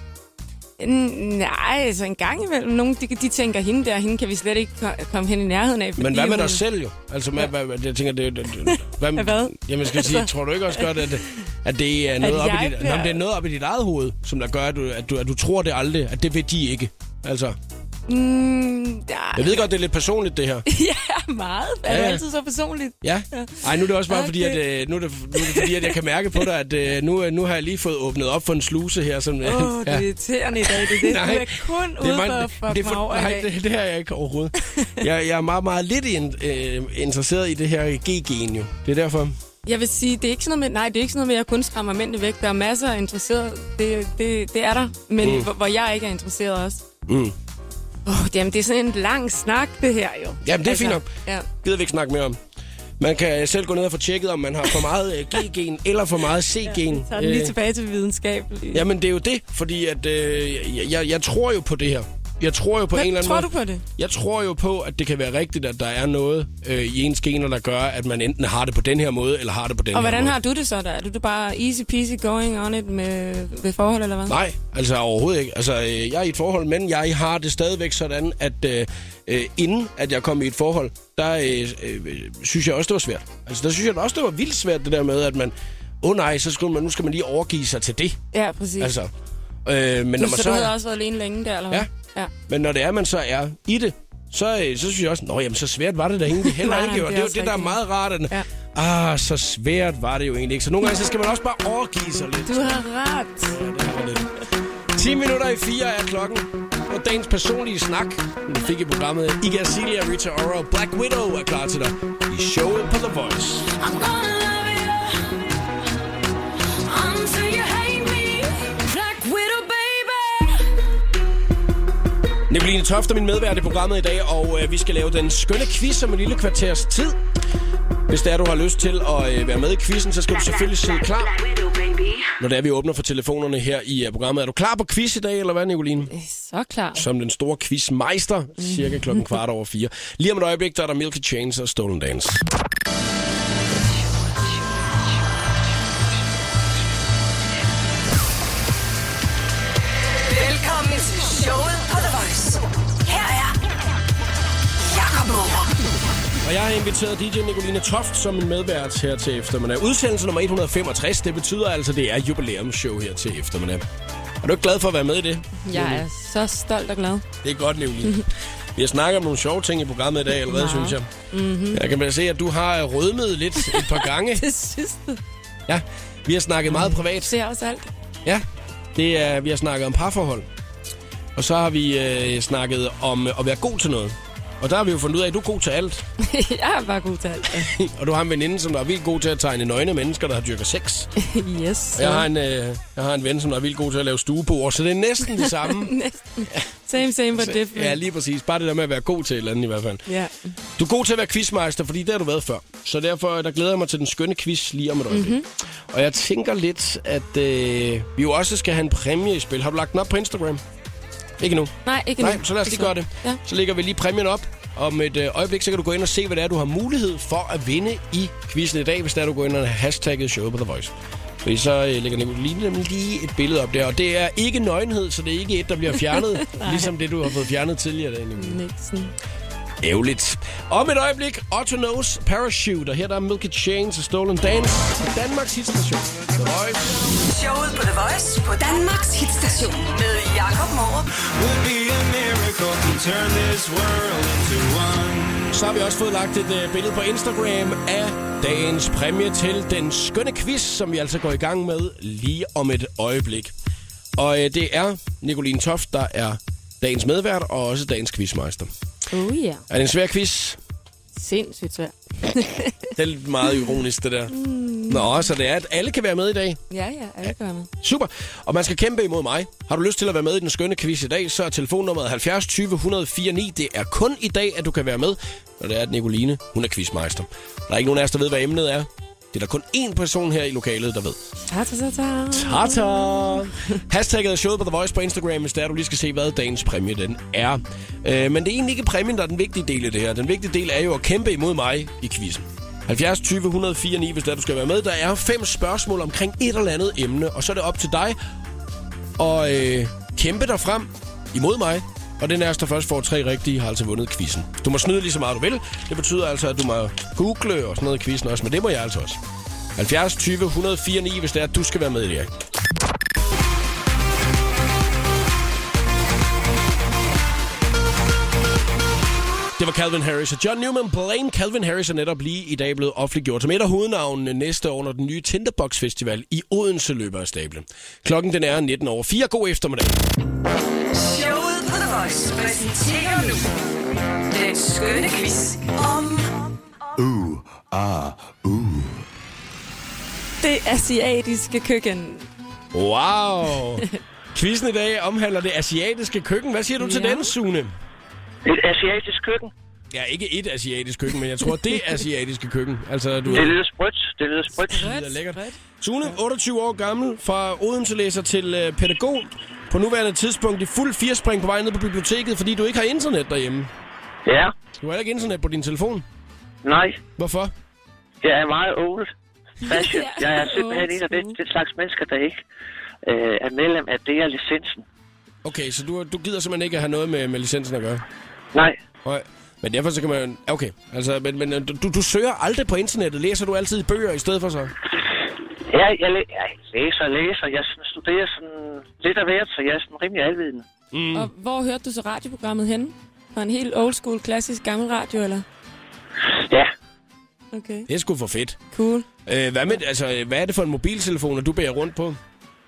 Speaker 2: Mm, Nej, altså en gang imellem. Nogle de, de tænker, hende der, hende kan vi slet ikke ko- komme hen i nærheden af.
Speaker 1: Men
Speaker 2: fordi
Speaker 1: hvad med
Speaker 2: hun-
Speaker 1: dig selv jo? Altså, hvad, hvad, hvad, jeg tænker, det, det, det hvad,
Speaker 2: Hvad? Altså-
Speaker 1: Jamen, skal jeg sige, tror du ikke også godt, at, at det er noget,
Speaker 2: At
Speaker 1: op i
Speaker 2: jeg
Speaker 1: dit,
Speaker 2: bliver-
Speaker 1: bliver... jamen, det er noget op i dit eget hoved, som der gør, at du, at du, at du tror det aldrig, at det vil de ikke? Altså,
Speaker 2: Mm,
Speaker 1: jeg
Speaker 2: ja,
Speaker 1: ved godt, det er lidt personligt, det her.
Speaker 2: ja, meget. Er
Speaker 1: Ja,
Speaker 2: du
Speaker 1: ja.
Speaker 2: altid så personligt?
Speaker 1: Ja. Ej, nu er det også bare fordi,
Speaker 2: Okay.
Speaker 1: at, øh, nu er det, nu er det fordi, at jeg kan mærke på dig, at øh, nu, øh, nu har jeg lige fået åbnet op for en sluse her. Som,
Speaker 2: Åh, oh, det er irriterende i dag. Det, er det.
Speaker 1: Nej,
Speaker 2: du er kun ude for at fuck
Speaker 1: det, er
Speaker 2: mig over i
Speaker 1: nej,
Speaker 2: dag.
Speaker 1: det, det er jeg ikke overhovedet. Jeg, jeg er meget, meget lidt in, øh, interesseret i det her G-gen jo. Det er derfor.
Speaker 2: Jeg vil sige, det er ikke sådan noget med, nej, det er ikke sådan noget med, at jeg kun skræmmer mændene væk. Der er masser af interesserede. Det, det, det er der. Men mm. hvor, hvor, jeg ikke er interesseret også.
Speaker 1: Mm.
Speaker 2: Åh, oh, jamen, det er sådan en lang snak, det her jo.
Speaker 1: Jamen, det er fint nok.
Speaker 2: Altså, Ja.
Speaker 1: Gider vi ikke snakke mere om. Man kan øh, selv gå ned og få tjekket, om man har for meget øh, G-gen eller for meget C-gen. Øh,
Speaker 2: Så er den lige tilbage til videnskab. Ja,
Speaker 1: jamen, det er jo det, fordi at, øh, jeg, jeg, jeg tror jo på det her. Jeg tror jo på en eller anden
Speaker 2: tror
Speaker 1: måde.
Speaker 2: du på det?
Speaker 1: Jeg tror jo på, at det kan være rigtigt, at der er noget øh, i ens gener, der gør, at man enten har det på den her måde, eller har det på den
Speaker 2: Og
Speaker 1: her
Speaker 2: hvordan
Speaker 1: måde.
Speaker 2: har du det så der? Er du det bare easy peasy going on it med, med forhold, eller hvad?
Speaker 1: Nej, altså overhovedet ikke. Altså, øh, jeg er i et forhold, men jeg har det stadigvæk sådan, at øh, øh, inden at jeg kom i et forhold, der øh, øh, synes jeg også, det var svært. Altså, der synes jeg også, det var vildt svært, det der med, at man... Åh oh, nej, så skulle man, nu skal man lige overgive sig til det.
Speaker 2: Ja, præcis.
Speaker 1: Altså, øh, men, når
Speaker 2: du,
Speaker 1: man
Speaker 2: så,
Speaker 1: så,
Speaker 2: du havde også været alene længe der, eller hvad?
Speaker 1: Ja.
Speaker 2: ja.
Speaker 1: men når det er, man så er i det, så, øh, så synes jeg også, nå jamen, så svært var det da egentlig heller
Speaker 2: Nej,
Speaker 1: ikke.
Speaker 2: nej,
Speaker 1: Og
Speaker 2: det
Speaker 1: det er
Speaker 2: er
Speaker 1: jo
Speaker 2: også
Speaker 1: det, der er
Speaker 2: rigtigt.
Speaker 1: meget rart. At,
Speaker 2: Ja.
Speaker 1: ja. Ah, så svært var det jo egentlig ikke. Så nogle gange, så skal man også bare overgive sig lidt.
Speaker 2: Du har ret.
Speaker 1: Og lidt. 10 minutter i 4 er klokken. Og dagens personlige snak, den vi fik i programmet. Iga Celia, Rita Ora og Black Widow er klar til dig i showet på The Voice.
Speaker 4: I'm gonna love you until you hate me. Black Widow, baby.
Speaker 1: Nicoline Toft er min medvært i programmet i dag, og øh, vi skal lave den skønne quiz om en lille kvarters tid. Hvis det er, du har lyst til at øh, være med i quizzen, så skal du selvfølgelig sidde klar, når det er, vi åbner for telefonerne her i øh, programmet. Er du klar på quiz i dag, eller hvad, Nicoline?
Speaker 2: Det er Så klar.
Speaker 1: Som den store quizmeister, cirka klokken kvart over fire. Lige om et øjeblik, der er der Milky Chance og Stolen Dance.
Speaker 3: Velkommen til showet på The Voice. Her er Jakob Morup.
Speaker 1: Og jeg har inviteret DJ Nicoline Toft som en medvært her til eftermiddag. Udsendelse nummer 165, det betyder altså, det er jubilæumsshow her til eftermiddag. Er du ikke glad for at være med i det?
Speaker 2: Jeg er så stolt og glad.
Speaker 1: Det er godt, Nicoline. Vi har snakket om nogle sjove ting i programmet i dag allerede,
Speaker 2: Meget.
Speaker 1: synes jeg. Mm-hmm. Jeg kan bare se, at du har rødmet lidt et par gange.
Speaker 2: Det synes du.
Speaker 1: Ja, vi har snakket meget privat.
Speaker 2: ser også alt.
Speaker 1: Ja, det er, vi har snakket om parforhold. Og så har vi øh, snakket om øh, at være god til noget. Og der har vi jo fundet ud af, at du er god til alt.
Speaker 2: jeg er bare god til alt.
Speaker 1: Og du har en veninde, som er vildt god til at tegne nøgne mennesker, der har dyrket sex.
Speaker 2: yes.
Speaker 1: Jeg har, en, øh, jeg har en ven, som er vildt god til at lave stuebord, så det er næsten det samme.
Speaker 2: Næsten. Same, same, but different.
Speaker 1: ja, lige præcis. Bare det der med at være god til et eller andet i hvert fald.
Speaker 2: ja.
Speaker 1: Du er god til at være quizmeister, fordi det har du været før. Så derfor øh, der glæder jeg mig til den skønne quiz lige om et øjeblik. Mm-hmm. Og jeg tænker lidt, at øh, vi jo også skal have en præmie i spil. Har du lagt den op på Instagram? Ikke nu.
Speaker 2: Nej, ikke
Speaker 1: Nej,
Speaker 2: nu.
Speaker 1: så lad os lige
Speaker 2: Ikke
Speaker 1: gøre
Speaker 2: nu.
Speaker 1: det.
Speaker 2: Ja.
Speaker 1: Så lægger vi lige præmien op. Om et øh, øjeblik, så kan du gå ind og se, hvad det er, du har mulighed for at vinde i quizzen i dag, hvis det er, du går ind og hashtagget showet på The Voice. Fordi så øh, lægger Nicoline nemlig lige et billede op der, og det er ikke nøgenhed, så det er ikke et, der bliver fjernet, ligesom det, du har fået fjernet tidligere i dag, Nicoline.
Speaker 2: Nixon.
Speaker 1: Ævligt. Om et øjeblik, Otto Knows Parachute, og her der er Milky Chains og Stolen Dance på Danmarks hitstation. The Voice.
Speaker 3: Showet på The Voice på Danmarks hitstation med Jakob Morup.
Speaker 8: would be a miracle to turn this world into one.
Speaker 1: Så har vi også fået lagt et øh, billede på Instagram af dagens præmie til den skønne quiz, som vi altså går i gang med lige om et øjeblik. Og øh, det er Nicoline Toft, der er dagens medvært og også dagens quizmeister.
Speaker 2: Oh ja.
Speaker 1: Er det en svær quiz?
Speaker 2: Sindssygt svært.
Speaker 1: Det er lidt meget ironisk, det der. Nå, så det er, at alle kan være med i dag.
Speaker 2: Ja, ja, alle gør med.
Speaker 1: Super. Og man skal kæmpe imod mig. Har du lyst til at være med i den skønne quiz i dag, så er telefonnummeret 70 20 104 9. Det er kun i dag, at du kan være med. Og det er, at Nicoline, hun er quizmeister. Der er ikke nogen af os, der ved, hvad emnet er. Det er der kun én person her i lokalet, der ved.
Speaker 2: Ta, ta, ta, ta.
Speaker 1: Tata! Hashtagget er showet på The Voice på Instagram, hvis der du lige skal se, hvad dagens præmie den er. Øh, men det er egentlig ikke præmien, der er den vigtige del af det her. Den vigtige del er jo at kæmpe imod mig i quizzen. 70 20 104 9, hvis der du skal være med. Der er fem spørgsmål omkring et eller andet emne, og så er det op til dig at øh, kæmpe dig frem imod mig. Og den er, der først får tre rigtige, har altså vundet quizzen. Du må snyde lige så meget du vil. Det betyder altså, at du må google og sådan noget i quizzen også, men det må jeg altså også. 70 20 104 9, hvis det er, at du skal være med i det her. Det var Calvin Harris og John Newman. Blame Calvin Harris er netop lige i dag blevet offentliggjort som et af hovednavnene næste år under den nye Tinderbox Festival i Odense løber af stablen. Klokken den er 19 over 4. God eftermiddag.
Speaker 3: Showet på The Voice præsenterer nu den skønne quiz om
Speaker 2: Det asiatiske køkken.
Speaker 1: Wow. Quizzen i dag omhandler det asiatiske køkken. Hvad siger du til
Speaker 2: Ja.
Speaker 1: den, Sune?
Speaker 9: Et asiatisk køkken.
Speaker 1: Ja, ikke et asiatisk køkken, men jeg tror, det asiatiske køkken. Altså, du
Speaker 9: Det
Speaker 1: er
Speaker 9: lyder sprødt. Det lyder sprødt.
Speaker 1: det er lækkert. Sune, 28 år gammel, fra Odense-læser til øh, pædagog. På nuværende tidspunkt i fuld firespring på vej ned på biblioteket, fordi du ikke har internet derhjemme.
Speaker 9: Ja.
Speaker 1: Du har heller ikke internet på din telefon.
Speaker 9: Nej.
Speaker 1: Hvorfor?
Speaker 9: Jeg er meget old fashion.
Speaker 2: Ja.
Speaker 9: Jeg er simpelthen
Speaker 2: Old
Speaker 9: en af den,
Speaker 2: school.
Speaker 9: den slags mennesker, der ikke øh, er medlem af DR licensen.
Speaker 1: Okay, så du, du gider simpelthen ikke at have noget med, med licensen at gøre?
Speaker 9: Nej.
Speaker 1: Nej. Men derfor så kan man... Okay, altså, men, men du, du søger aldrig på internettet. Læser du altid i bøger i stedet for så?
Speaker 9: Ja, jeg, læ- jeg læser og læser. Jeg sådan, studerer sådan lidt af hvert, så jeg er sådan rimelig alvidende.
Speaker 2: Mm. Og hvor hørte du så radioprogrammet henne? Var en helt old school, klassisk gammel radio, eller?
Speaker 9: Ja.
Speaker 2: Okay,
Speaker 1: Det er sgu for fedt.
Speaker 2: cool.
Speaker 1: Øh, hvad, med, altså, hvad er det for en mobiltelefon, du bærer rundt på?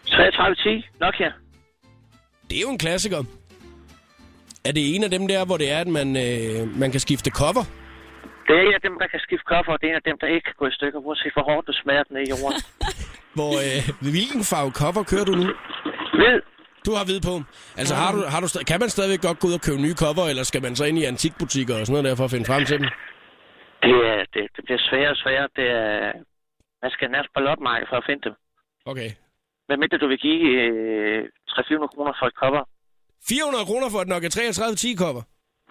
Speaker 9: 3310 Nokia.
Speaker 1: Det er jo en klassiker. Er det en af dem der, hvor det er, at man, øh, man kan skifte cover?
Speaker 9: Det er en af dem, der kan skifte koffer, og det er en af dem, der ikke kan gå i stykker, uanset hvor hårdt du smager den ned i jorden.
Speaker 1: Hvor, øh, hvilken farve cover kører du nu?
Speaker 9: Ved,
Speaker 1: Du har hvid på. Altså, har du, har du sta- kan man stadigvæk godt gå ud og købe nye cover, eller skal man så ind i antikbutikker og sådan noget der for at finde frem til dem?
Speaker 9: det, er, det, det bliver sværere og sværere. Det er, man skal nærmest på lopmarkedet for at finde dem.
Speaker 1: Okay.
Speaker 9: Hvad mindre du vil give øh, 300-400 kroner for et cover?
Speaker 1: 400 kroner for et Nokia 3310 cover.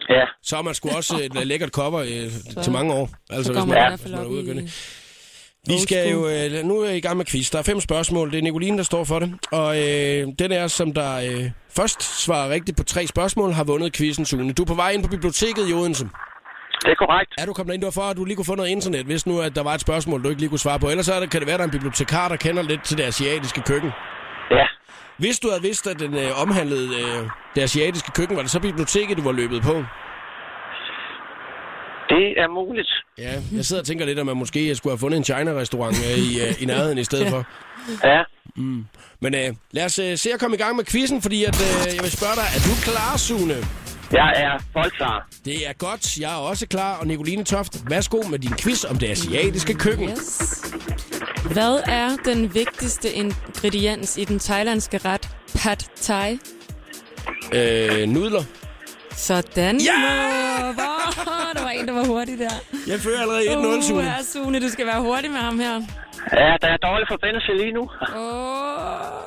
Speaker 9: Ja,
Speaker 1: Så har man sgu også et lækkert cover øh, til mange år. Altså,
Speaker 2: Så går
Speaker 1: hvis
Speaker 2: man i
Speaker 1: man,
Speaker 2: hvert
Speaker 1: hvis
Speaker 2: fald
Speaker 1: man er
Speaker 2: op
Speaker 1: ude at gøre
Speaker 2: i...
Speaker 1: det. Vi skal jo... Øh, nu er jeg i gang med quiz. Der er fem spørgsmål. Det er Nicoline, der står for det. Og øh, den er, som der øh, først svarer rigtigt på tre spørgsmål, har vundet quizzen, Sune. Du er på vej ind på biblioteket i Odense.
Speaker 9: det er korrekt.
Speaker 1: Er du kommet ind derfra, at du lige kunne få noget internet, hvis nu at der var et spørgsmål, du ikke lige kunne svare på? Ellers er det, kan det være, at der er en bibliotekar, der kender lidt til det asiatiske køkken.
Speaker 9: Ja,
Speaker 1: Hvis du havde vidst, at den øh, omhandlede øh, det asiatiske køkken, var det så biblioteket, du var løbet på?
Speaker 9: det er muligt.
Speaker 1: Ja, jeg sidder og tænker lidt, om man måske jeg skulle have fundet en China-restaurant øh, i, øh, i nærheden i stedet for.
Speaker 9: Ja,
Speaker 1: Men øh, lad os øh, se at komme i gang med quizzen, fordi at, øh, jeg vil spørge dig, er du klar, Sune?
Speaker 9: jeg er folkeklar.
Speaker 1: Det er godt, jeg er også klar, og Nicoline Toft, værsgo med din quiz om det asiatiske køkken.
Speaker 2: Yes. Hvad er den vigtigste ingrediens i den thailandske ret Pad Thai?
Speaker 1: Øh, nudler.
Speaker 2: Sådan.
Speaker 1: Ja!
Speaker 2: Nå, Hvor, der var en, der var hurtig der.
Speaker 1: Jeg fører allerede 1-0, Sune.
Speaker 2: Uh, Sune, du skal være hurtig med ham her.
Speaker 9: Ja, der er dårlig forbindelse lige nu.
Speaker 2: Åh,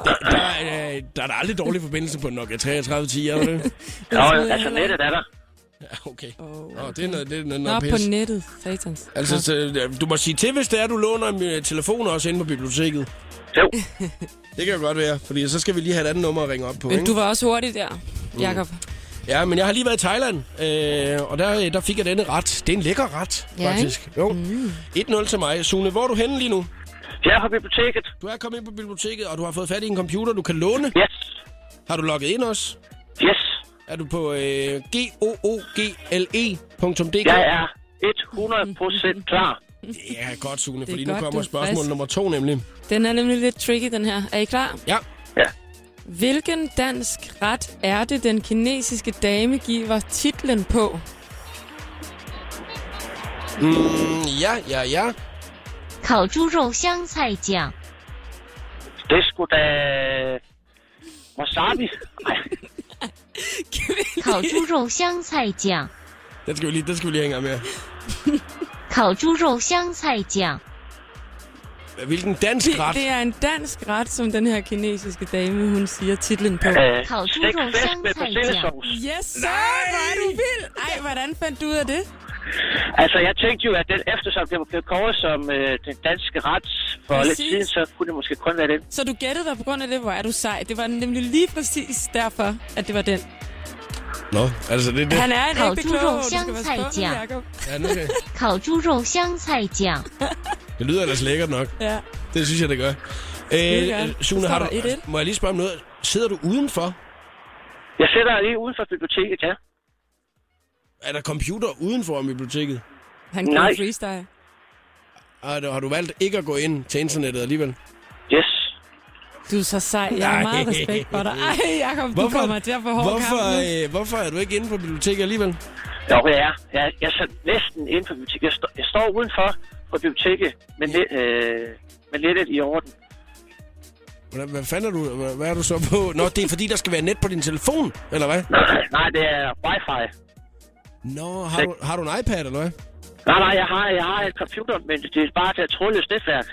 Speaker 1: Der, er, øh, der er da aldrig dårlig forbindelse på en Nokia 3310, er der det?
Speaker 9: Nå,
Speaker 2: troede jeg
Speaker 9: altså
Speaker 2: heller
Speaker 9: nettet er der.
Speaker 1: Ja, Okay. Nå, det er noget, det er noget,
Speaker 2: Nå,
Speaker 1: noget
Speaker 2: på
Speaker 1: pis.
Speaker 2: nettet, satans.
Speaker 1: Altså, så, øh, du må sige til, hvis det er, du låner en øh, telefon også inde på biblioteket.
Speaker 9: Jo,
Speaker 1: Det kan jo godt være, fordi så skal vi lige have et andet nummer at ringe op på,
Speaker 2: Men
Speaker 1: ikke?
Speaker 2: du var også hurtig
Speaker 1: Mm.
Speaker 2: der, Jakob.
Speaker 1: Ja, men jeg har lige været i Thailand, øh, og der, øh, der fik jeg denne ret. Det er en lækker ret,
Speaker 7: Ja,
Speaker 1: faktisk. Jo. Mm. 1-0 til mig. Sune, hvor er du henne lige nu?
Speaker 9: jeg er på biblioteket.
Speaker 1: Du er kommet ind på biblioteket, og du har fået fat i en computer, du kan låne.
Speaker 9: Yes,
Speaker 1: Har du logget ind også?
Speaker 9: yes.
Speaker 1: Er du på øh, e google.dk?
Speaker 9: Jeg er 100% klar.
Speaker 1: Ja, godt, Sune,
Speaker 2: Det er
Speaker 1: fordi nu
Speaker 2: godt,
Speaker 1: kommer
Speaker 2: du er
Speaker 1: spørgsmål
Speaker 2: frisk.
Speaker 1: nummer to nemlig.
Speaker 2: Den er nemlig lidt tricky, den her. Er I klar?
Speaker 1: Ja.
Speaker 9: Ja.
Speaker 2: Hvilken dansk ret er det, den kinesiske dame giver titlen på?
Speaker 1: Mm, ja, ja, ja.
Speaker 10: 烤猪肉香菜酱、
Speaker 9: Det skulle da... Wasabi. Ej,
Speaker 10: 烤猪肉香菜酱、
Speaker 1: Den skal vi lige, den skal vi lige have en gang mere.
Speaker 10: 烤猪肉香菜酱、
Speaker 1: Hvilken dansk
Speaker 2: Det,
Speaker 1: ret?
Speaker 2: det er en dansk ret, som den her kinesiske dame, hun siger titlen på.
Speaker 9: øh,
Speaker 10: Karl Tudor
Speaker 9: stegt fisk med
Speaker 10: Sandsag,
Speaker 9: persillesovs.
Speaker 2: Yes, sir! Hvor er du vild! Ej, hvordan fandt du ud af det?
Speaker 9: Altså, jeg tænkte jo, at den eftersom det var blevet kåret som øh, den danske ret for lidt
Speaker 2: Præcis.
Speaker 9: siden, så kunne det måske kun være den.
Speaker 2: Så du gættede dig på grund af det, hvor er du sej. Det var nemlig lige præcis derfor, at det var den.
Speaker 1: Nå, altså det er det.
Speaker 2: Han er en
Speaker 10: Karl
Speaker 2: ægte
Speaker 10: Tudor
Speaker 2: klog, du skal være
Speaker 10: Sandsag,
Speaker 2: spændende,
Speaker 10: ja.
Speaker 2: Jacob.
Speaker 1: Ja, nu skal-
Speaker 10: 烤猪肉香菜酱、
Speaker 1: Det lyder ellers lækkert nok.
Speaker 2: Ja.
Speaker 1: Det synes jeg, det gør.
Speaker 2: det gør
Speaker 1: Øh,
Speaker 2: det.
Speaker 1: Sune,
Speaker 2: Så
Speaker 1: har
Speaker 2: står
Speaker 1: du,
Speaker 2: der 1-1.
Speaker 1: må jeg lige spørge om noget? Sidder du udenfor?
Speaker 9: Jeg sidder lige uden for biblioteket, ja.
Speaker 1: Er der computer udenfor i biblioteket?
Speaker 2: Han kan
Speaker 9: Nej.
Speaker 2: jo freestyle.
Speaker 1: Har du, har du valgt ikke at gå ind til internettet alligevel?
Speaker 9: Yes.
Speaker 2: Du er så sej. Jeg har
Speaker 1: Nej.
Speaker 2: meget respekt for dig. Ej, Jacob, du kommer til at få hård kamp
Speaker 1: hvorfor,
Speaker 2: nu.
Speaker 1: øh, hvorfor er du ikke inde på biblioteket alligevel?
Speaker 9: Jo, jeg er. Jeg, jeg er så næsten inde for biblioteket. Jeg, står- jeg står udenfor for biblioteket, men, lidt, øh, men lidt i orden.
Speaker 1: Hvordan, hvad fanden er du? Hvad, hvad er du så på? Nå, det er fordi, der skal være net på din telefon, eller hvad?
Speaker 9: Nej, det er wifi.
Speaker 1: Nå, har du, har du en iPad, eller hvad?
Speaker 9: Nej, nej, jeg har, jeg har en computer, men det er bare til at trådløst netværk.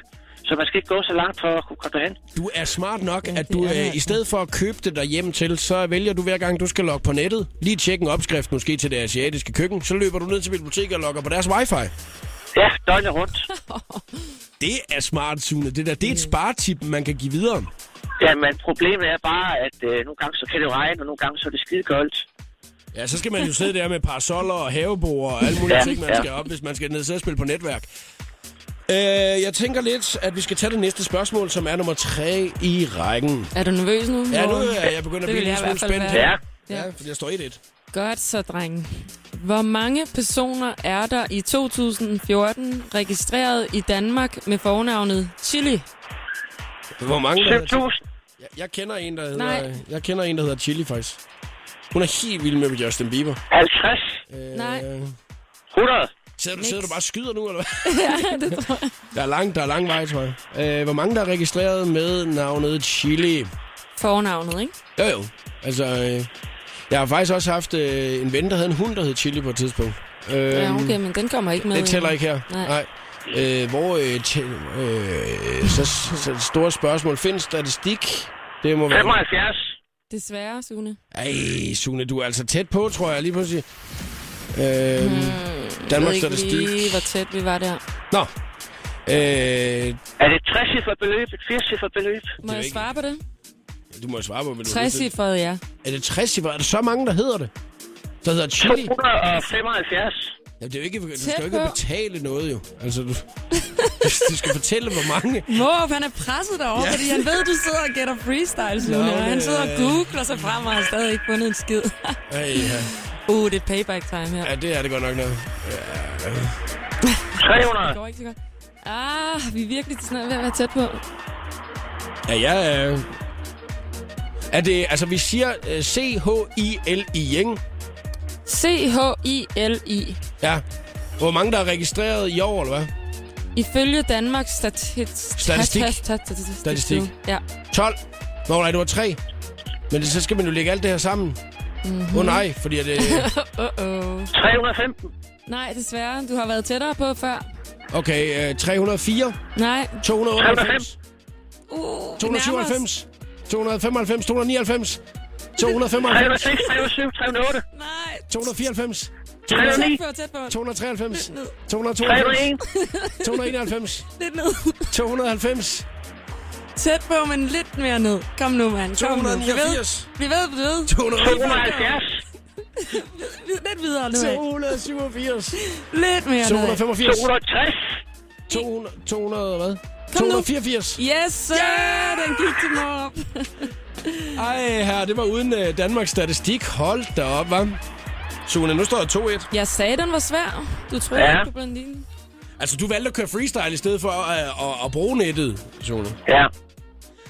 Speaker 9: Så man skal ikke gå så langt for at kunne komme derhen.
Speaker 1: Du er smart nok,
Speaker 2: Ja,
Speaker 1: at
Speaker 2: det
Speaker 1: du
Speaker 2: er jeg
Speaker 1: øh, i stedet for at købe det derhjemme til, så vælger du hver gang, du skal logge på nettet, lige tjekke en opskrift måske til det asiatiske køkken, så løber du ned til biblioteket og logger på deres wifi.
Speaker 9: Ja, døgnet rundt.
Speaker 1: Det er smart, Sune. Det, der, det er et
Speaker 2: Mm.
Speaker 1: sparetip, man kan give videre.
Speaker 9: Ja, men problemet er bare, at øh, nogle gange så kan det jo regne, og nogle gange så er det skide koldt.
Speaker 1: Ja, så skal man jo sidde der med parasoller og havebord og alle mulige ja,
Speaker 9: Ja,
Speaker 1: ting, man ja.
Speaker 9: ja.
Speaker 1: skal op, hvis man skal ned og sidde og spille på netværk. Øh, jeg tænker lidt, at vi skal tage det næste spørgsmål, som er nummer tre i rækken.
Speaker 2: Er du nervøs nu?
Speaker 1: Ja, nu
Speaker 2: Morten?
Speaker 1: øh, er jeg begyndt at blive
Speaker 2: Det vil
Speaker 1: lidt
Speaker 2: jeg i
Speaker 1: smule
Speaker 2: hvert fald
Speaker 1: spændt.
Speaker 2: være.
Speaker 1: her.
Speaker 9: Ja.
Speaker 1: Ja, fordi jeg står i det.
Speaker 2: Godt så, drenge. Hvor mange personer er der i 2014 registreret i Danmark med fornavnet Chili?
Speaker 1: Hvor mange der hedder
Speaker 9: 7.000.
Speaker 1: jeg, jeg kender en, der hedder,
Speaker 2: Nej.
Speaker 1: jeg kender en, der hedder Chili, faktisk. Hun er helt vild med Justin Bieber.
Speaker 9: 50.
Speaker 1: Øh,
Speaker 2: Nej.
Speaker 9: 100.
Speaker 1: Sidder du, sidder du bare og skyder nu, eller hvad? ja, det tror jeg. Der er lang, der er lang vej, tror jeg. Øh, hvor mange, der er registreret med navnet Chili?
Speaker 2: Fornavnet, ikke?
Speaker 1: Jo jo. Altså, øh, jeg har faktisk også haft øh, en ven, der havde en hund, der hed Chili på et tidspunkt. Øh,
Speaker 2: Ja, okay, men den kommer ikke med.
Speaker 1: Det tæller ikke her.
Speaker 2: Nej.
Speaker 1: Øh, hvor øh, tæ- øh, så, så et stort spørgsmål. Findes statistik? Det må være...
Speaker 9: 75.
Speaker 2: Desværre, Sune.
Speaker 1: Ej, Sune, du er altså tæt på, tror jeg, lige pludselig. Øhm, hmm,
Speaker 2: Jeg
Speaker 1: Danmarks
Speaker 2: ved ikke
Speaker 1: Statistik.
Speaker 2: lige, hvor tæt vi var der.
Speaker 1: Nå. Øh,
Speaker 9: Er det et 60 for beløb? Et 80 for beløb?
Speaker 2: Må
Speaker 1: er
Speaker 2: jeg
Speaker 1: ikke-
Speaker 2: svare på det?
Speaker 1: du må jo svare på, hvad du det.
Speaker 2: 60 ja.
Speaker 1: Er det 60 Er der så mange, der hedder det? Der hedder Chili?
Speaker 9: 275.
Speaker 1: Jamen, det er jo ikke, du skal jo
Speaker 2: Tæt
Speaker 1: ikke
Speaker 2: på.
Speaker 1: betale noget, jo. Altså, du, du skal fortælle, hvor mange.
Speaker 2: Måb, han er presset derovre,
Speaker 1: Ja.
Speaker 2: ja. fordi han ved, du sidder og gætter freestyle, Sune.
Speaker 1: Nå,
Speaker 2: og han
Speaker 1: det-
Speaker 2: sidder og googler sig frem og har stadig ikke fundet en skid.
Speaker 1: Ej, ja.
Speaker 2: uh, det er payback time her.
Speaker 1: ja, det er det godt nok noget.
Speaker 9: 300.
Speaker 2: Det går ikke så godt. Ah, vi er virkelig snart ved at være tæt på.
Speaker 1: Ja, ja, øh. Er det, altså, vi siger øh, C-H-I-L-I, ikke?
Speaker 2: C-H-I-L-I.
Speaker 1: Ja. Hvor mange, der er registreret i år, eller hvad?
Speaker 2: Ifølge Danmarks stati-
Speaker 1: Statistik.
Speaker 2: stat- stat- statistik.
Speaker 1: Statistik.
Speaker 2: Ja.
Speaker 1: 12. Nå, nej, det var 3. Men det, så skal man jo lægge alt det her sammen. Åh mm-hmm.
Speaker 2: Mhm.
Speaker 1: oh, nej, fordi at, øh,
Speaker 2: Uh-oh.
Speaker 9: 315.
Speaker 2: Nej, desværre. Du har været tættere på før.
Speaker 1: Okay, øh, 304,
Speaker 2: Nej.
Speaker 1: 298,
Speaker 2: Uh, vi nærmer os.
Speaker 1: 297, 295, 299, 295,
Speaker 9: 306, 307, 308.
Speaker 2: Nej.
Speaker 1: 294,
Speaker 2: Tæt
Speaker 9: 309.
Speaker 2: på, tæt på.
Speaker 1: 293,
Speaker 2: Ned,
Speaker 1: 292,
Speaker 9: 301.
Speaker 1: 291,
Speaker 2: lidt ned.
Speaker 1: 290,
Speaker 2: Tæt på, men lidt mere ned. Kom nu, mand. Kom nu. Vi ved,
Speaker 1: 289,
Speaker 2: vi ved, vi ved.
Speaker 9: 270.
Speaker 2: Vi- Lidt videre nu.
Speaker 1: 287,
Speaker 2: Lidt mere ned.
Speaker 1: 285,
Speaker 9: 260.
Speaker 1: 200, 200 hvad?
Speaker 2: Kom nu.
Speaker 1: 284.
Speaker 2: Yes, sir. Den gik til mig op.
Speaker 1: Ej, her, det var uden øh, Danmarks Statistik. Hold da op, hva'? Sune, nu står der 2-1.
Speaker 2: Jeg sagde, den var svær. Du troede
Speaker 9: Ja.
Speaker 2: ikke på blondinen.
Speaker 1: Altså, du valgte at køre freestyle i stedet for at, at, at bruge nettet, Sune.
Speaker 9: Ja.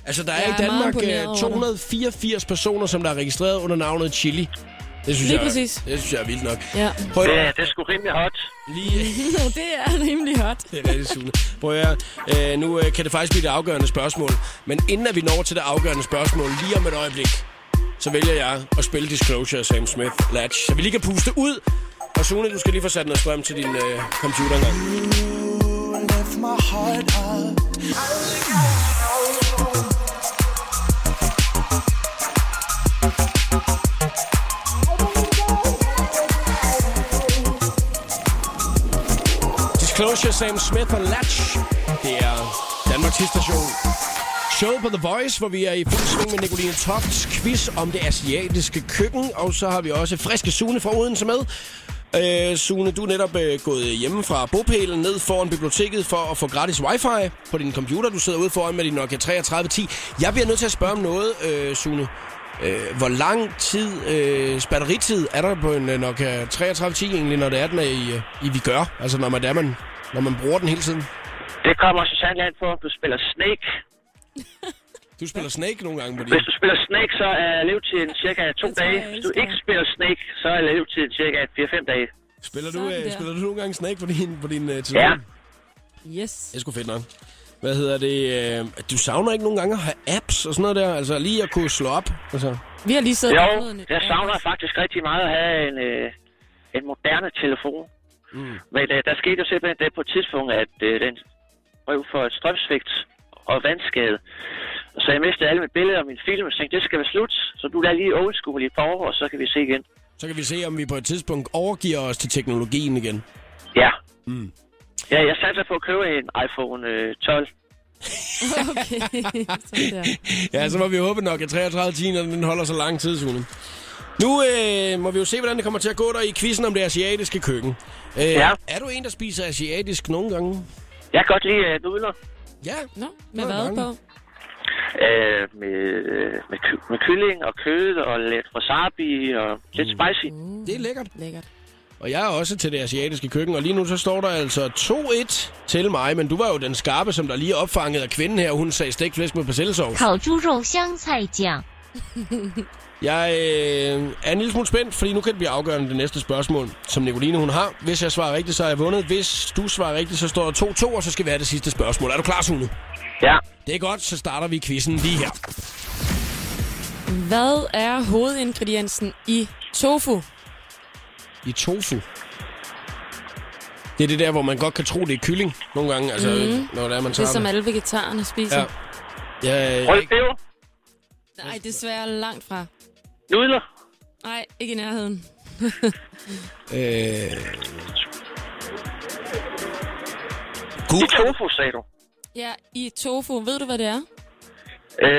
Speaker 1: Altså, der
Speaker 2: Jeg
Speaker 1: er i
Speaker 2: er meget
Speaker 1: Danmark
Speaker 2: imponeret
Speaker 1: øh,
Speaker 2: over dig.
Speaker 1: 284 personer, som der er registreret under navnet Chili. Det synes
Speaker 2: Lige
Speaker 1: jeg,
Speaker 2: præcis.
Speaker 1: Det synes jeg er vildt nok.
Speaker 2: Ja.
Speaker 1: Prøv at-
Speaker 9: Ja, det er sgu rimelig hot.
Speaker 1: Lige...
Speaker 2: det er rimelig hot.
Speaker 1: Det er rigtig sugende. Prøv at høre, øh, nu øh, kan det faktisk blive det afgørende spørgsmål. Men inden at vi når til det afgørende spørgsmål, lige om et øjeblik, så vælger jeg at spille Disclosure af Sam Smith Latch. Så vi lige kan puste ud. Og Sune, du skal lige få sat noget strøm til din øh, computer engang.
Speaker 5: Left my heart up.
Speaker 1: Disclosure, Sam Smith og Latch. Det er Danmarks Station. Show på The Voice, hvor vi er i fuld sving med Nicoline Tofts quiz om det asiatiske køkken. Og så har vi også friske Sune fra Odense med. Øh, Sune, du er netop øh, gået hjemme fra bopælen ned foran biblioteket for at få gratis wifi på din computer. Du sidder ude foran med din Nokia 3310. Jeg bliver nødt til at spørge om noget, øh, Sune. Øh, hvor lang tid, øh, batteritid er der på en øh, Nokia 3310 egentlig, når det er, den er i, øh, i vi gør? Altså når man, der man, når man bruger den hele tiden?
Speaker 9: Det kommer Susanne land for. Du spiller Snake.
Speaker 1: Du spiller Snake nogle gange på din.
Speaker 9: Hvis du spiller Snake, så er levetiden cirka to dage. Hvis du ikke spiller Snake, så er levetiden cirka 4-5 dage.
Speaker 1: Spiller du,
Speaker 2: Sådan
Speaker 1: øh,
Speaker 2: der.
Speaker 1: spiller du nogle gange Snake på din, på din øh, telefon?
Speaker 9: Ja.
Speaker 2: Yes.
Speaker 1: Det er sgu fedt nok. Hvad hedder det? Øh, du savner ikke nogle gange at have apps og sådan noget der? Altså lige at kunne slå op? Altså.
Speaker 2: Vi har lige siddet
Speaker 9: Jo,
Speaker 2: og downloadet en-
Speaker 9: jeg savner faktisk rigtig meget at have en, øh, en moderne telefon.
Speaker 1: Mm.
Speaker 9: Men øh, der skete jo simpelthen det på et tidspunkt, at øh, den røv for et strømsvigt og vandskade. Så jeg mistede alle mine billeder og mine film, og tænkte, det skal være slut. Så du lader lige old school i et par år, og så kan vi se igen.
Speaker 1: Så kan vi se, om vi på et tidspunkt overgiver os til teknologien igen.
Speaker 9: Ja.
Speaker 1: Mm.
Speaker 9: Ja, jeg satte på at købe en iPhone øh, 12.
Speaker 2: Okay. Sådan der.
Speaker 1: Ja, så må vi håbe nok, at 33 timer den holder så lang tid, Sune. Nu øh, må vi jo se, hvordan det kommer til at gå der i quizzen om det asiatiske køkken. Øh,
Speaker 9: Ja.
Speaker 1: Er du en, der spiser asiatisk nogle gange?
Speaker 9: Jeg kan godt lide øh, nudler
Speaker 1: Ja.
Speaker 2: Nå, med
Speaker 1: Nå,
Speaker 2: hvad
Speaker 1: mange.
Speaker 2: på?
Speaker 9: øh, med, øh, med, ky- med kylling og kød og lidt wasabi og lidt spicy.
Speaker 2: Uh,
Speaker 1: Det er lækkert.
Speaker 2: lækkert.
Speaker 1: Og jeg er også til det asiatiske køkken, og lige nu så står der altså 2-1 til mig, men du var jo den skarpe, som der lige opfangede af kvinden her, og hun sagde stegflæsk med persillesovs.
Speaker 10: 烤猪肉香菜酱，
Speaker 1: Jeg øh, er en lille smule spændt, fordi nu kan det blive afgørende det næste spørgsmål, som Nicoline hun har. Hvis jeg svarer rigtigt, så har jeg vundet. Hvis du svarer rigtigt, så står der 2-2, og så skal vi have det sidste spørgsmål. Er du klar, Sune?
Speaker 9: Ja.
Speaker 1: Det er godt, så starter vi quizzen lige her.
Speaker 2: Hvad er hovedingrediensen i tofu?
Speaker 1: I tofu. Det er det der, hvor man godt kan tro, det er kylling nogle gange, altså mm. når det er, man
Speaker 2: Mhm. Det,
Speaker 1: tager
Speaker 2: som
Speaker 1: det.
Speaker 2: alle vegetarerne spiser.
Speaker 1: Ja. Ja,
Speaker 9: Rød
Speaker 1: jeg,
Speaker 9: peber,
Speaker 2: Nej, desværre langt fra.
Speaker 9: nudler,
Speaker 2: Nej, ikke i nærheden.
Speaker 1: øh,
Speaker 9: i
Speaker 1: Google.
Speaker 9: tofu, sagde du.
Speaker 2: Ja, i tofu. Ved du, hvad det er?
Speaker 9: Øh,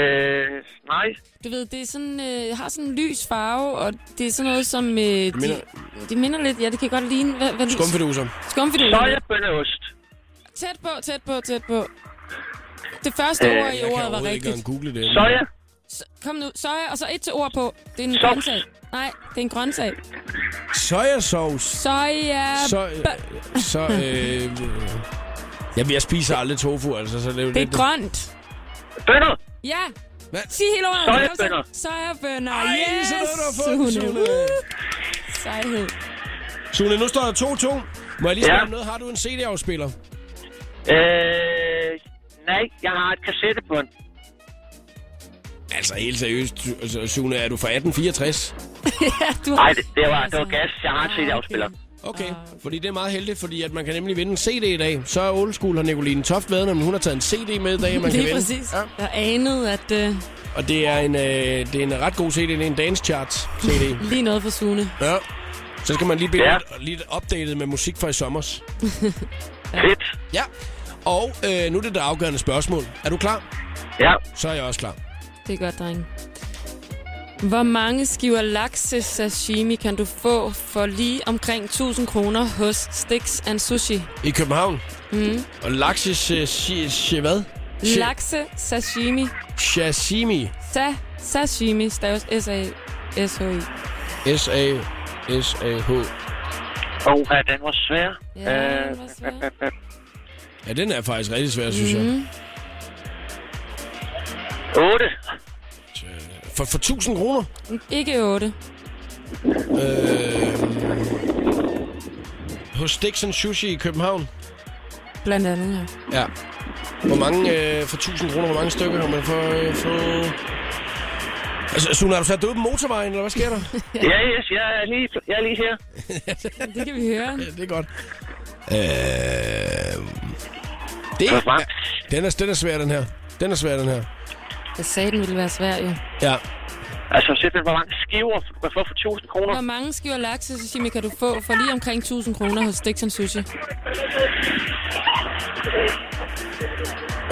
Speaker 9: nej.
Speaker 2: Du ved, det er sådan, øh, har sådan en lys farve, og det er sådan noget, som... Øh, det,
Speaker 1: minder-
Speaker 2: minder... det minder lidt... Ja, det kan godt ligne... Hvad, hvad
Speaker 1: Skumfiduser.
Speaker 2: Skumfiduser.
Speaker 9: Sojabønneost.
Speaker 2: Tæt på, tæt på, tæt på. Det første
Speaker 9: Øh,
Speaker 2: ord
Speaker 1: Jeg
Speaker 2: i
Speaker 1: kan
Speaker 2: ordet var
Speaker 1: overhovedet ikke
Speaker 2: rigtigt.
Speaker 1: engang google det.
Speaker 9: Soja,
Speaker 2: S- Kom nu, soja, og så et til ord på. Det er en
Speaker 9: Sovs.
Speaker 2: grøntsag. Nej, det er en grøntsag.
Speaker 1: Sojasauce.
Speaker 2: Soja...
Speaker 1: så, øh, så, øh, øh, jamen, jeg spiser aldrig tofu, altså, så det er jo
Speaker 2: Det er
Speaker 1: lidt...
Speaker 2: grønt.
Speaker 9: bønner,
Speaker 2: Ja,
Speaker 1: Hvad?
Speaker 2: sig hele ordet.
Speaker 9: Sojabønner.
Speaker 2: Sojabønner.
Speaker 1: Ej,
Speaker 2: yes,
Speaker 1: så noget, du har fået, Sune.
Speaker 2: Sejhed.
Speaker 1: Sune, nu står der 2-2. Må jeg lige
Speaker 9: Ja.
Speaker 1: spørge om noget? Har du en CD-afspiller?
Speaker 9: øh, nej, jeg har et kassettebånd.
Speaker 1: Altså, helt seriøst, Su- altså, Sune, er du fra 1864?
Speaker 2: Ja, du
Speaker 9: Nej, det, det, var, det var gas. Jeg har en
Speaker 2: Ah,
Speaker 9: CD-afspiller.
Speaker 2: okay.
Speaker 1: Okay, fordi det er meget heldigt, fordi at man kan nemlig vinde en CD i dag. Så er old school har Nicoline Toft været, når hun har taget en CD med i dag, man kan
Speaker 2: Lige
Speaker 1: vinde.
Speaker 2: præcis. Jeg anede, at øh,
Speaker 1: Og det er, en, øh, det er en ret god CD, det er en dance charts CD.
Speaker 2: lige noget for Sune.
Speaker 1: ja. Så skal man lige blive
Speaker 9: Ja.
Speaker 1: lidt, lidt opdateret med musik fra i sommers.
Speaker 9: Fedt.
Speaker 1: Ja, og øh, nu er det det afgørende spørgsmål. Er du klar?
Speaker 9: Ja,
Speaker 1: Så er jeg også klar.
Speaker 2: Det er godt, dreng. Hvor mange skiver lakse sashimi kan du få for lige omkring 1000 kroner hos Sticks and Sushi?
Speaker 1: I København? Mm. Og lakses... Uh, shi, shi, hvad? Shi-
Speaker 2: Lakse sashimi.
Speaker 1: Sashimi.
Speaker 2: Sa sashimi staves s a s h i
Speaker 1: S-A... S-A-H.
Speaker 9: og oh, den var svær.
Speaker 2: Ja,
Speaker 9: Øh,
Speaker 2: det var svært.
Speaker 1: Ja, den er faktisk rigtig svær, synes mm. jeg.
Speaker 9: 8.
Speaker 1: For, for 1000 kroner?
Speaker 2: Ikke 8.
Speaker 1: Øh, hos Dixon Sushi i København.
Speaker 2: Blandt andet, ja.
Speaker 1: Ja. Hvor mange, øh, for 1000 kroner, hvor mange stykker har man for... Øh, for... Altså, Sune, har du sat dig ud på motorvejen, eller hvad sker der?
Speaker 9: Ja, yes, jeg er lige, jeg er lige her.
Speaker 2: det kan vi høre.
Speaker 1: Ja, det er godt. Øh, det er, den, er, den er svær, den her. Den er svær, den her.
Speaker 2: Jeg sagde, den ville være svær, jo.
Speaker 1: Ja.
Speaker 9: Altså, simpelthen, hvor mange skiver man får for 1000 kroner.
Speaker 2: Hvor mange skiver laksesushi kan du få for lige omkring 1000 kroner hos Dixon Sushi?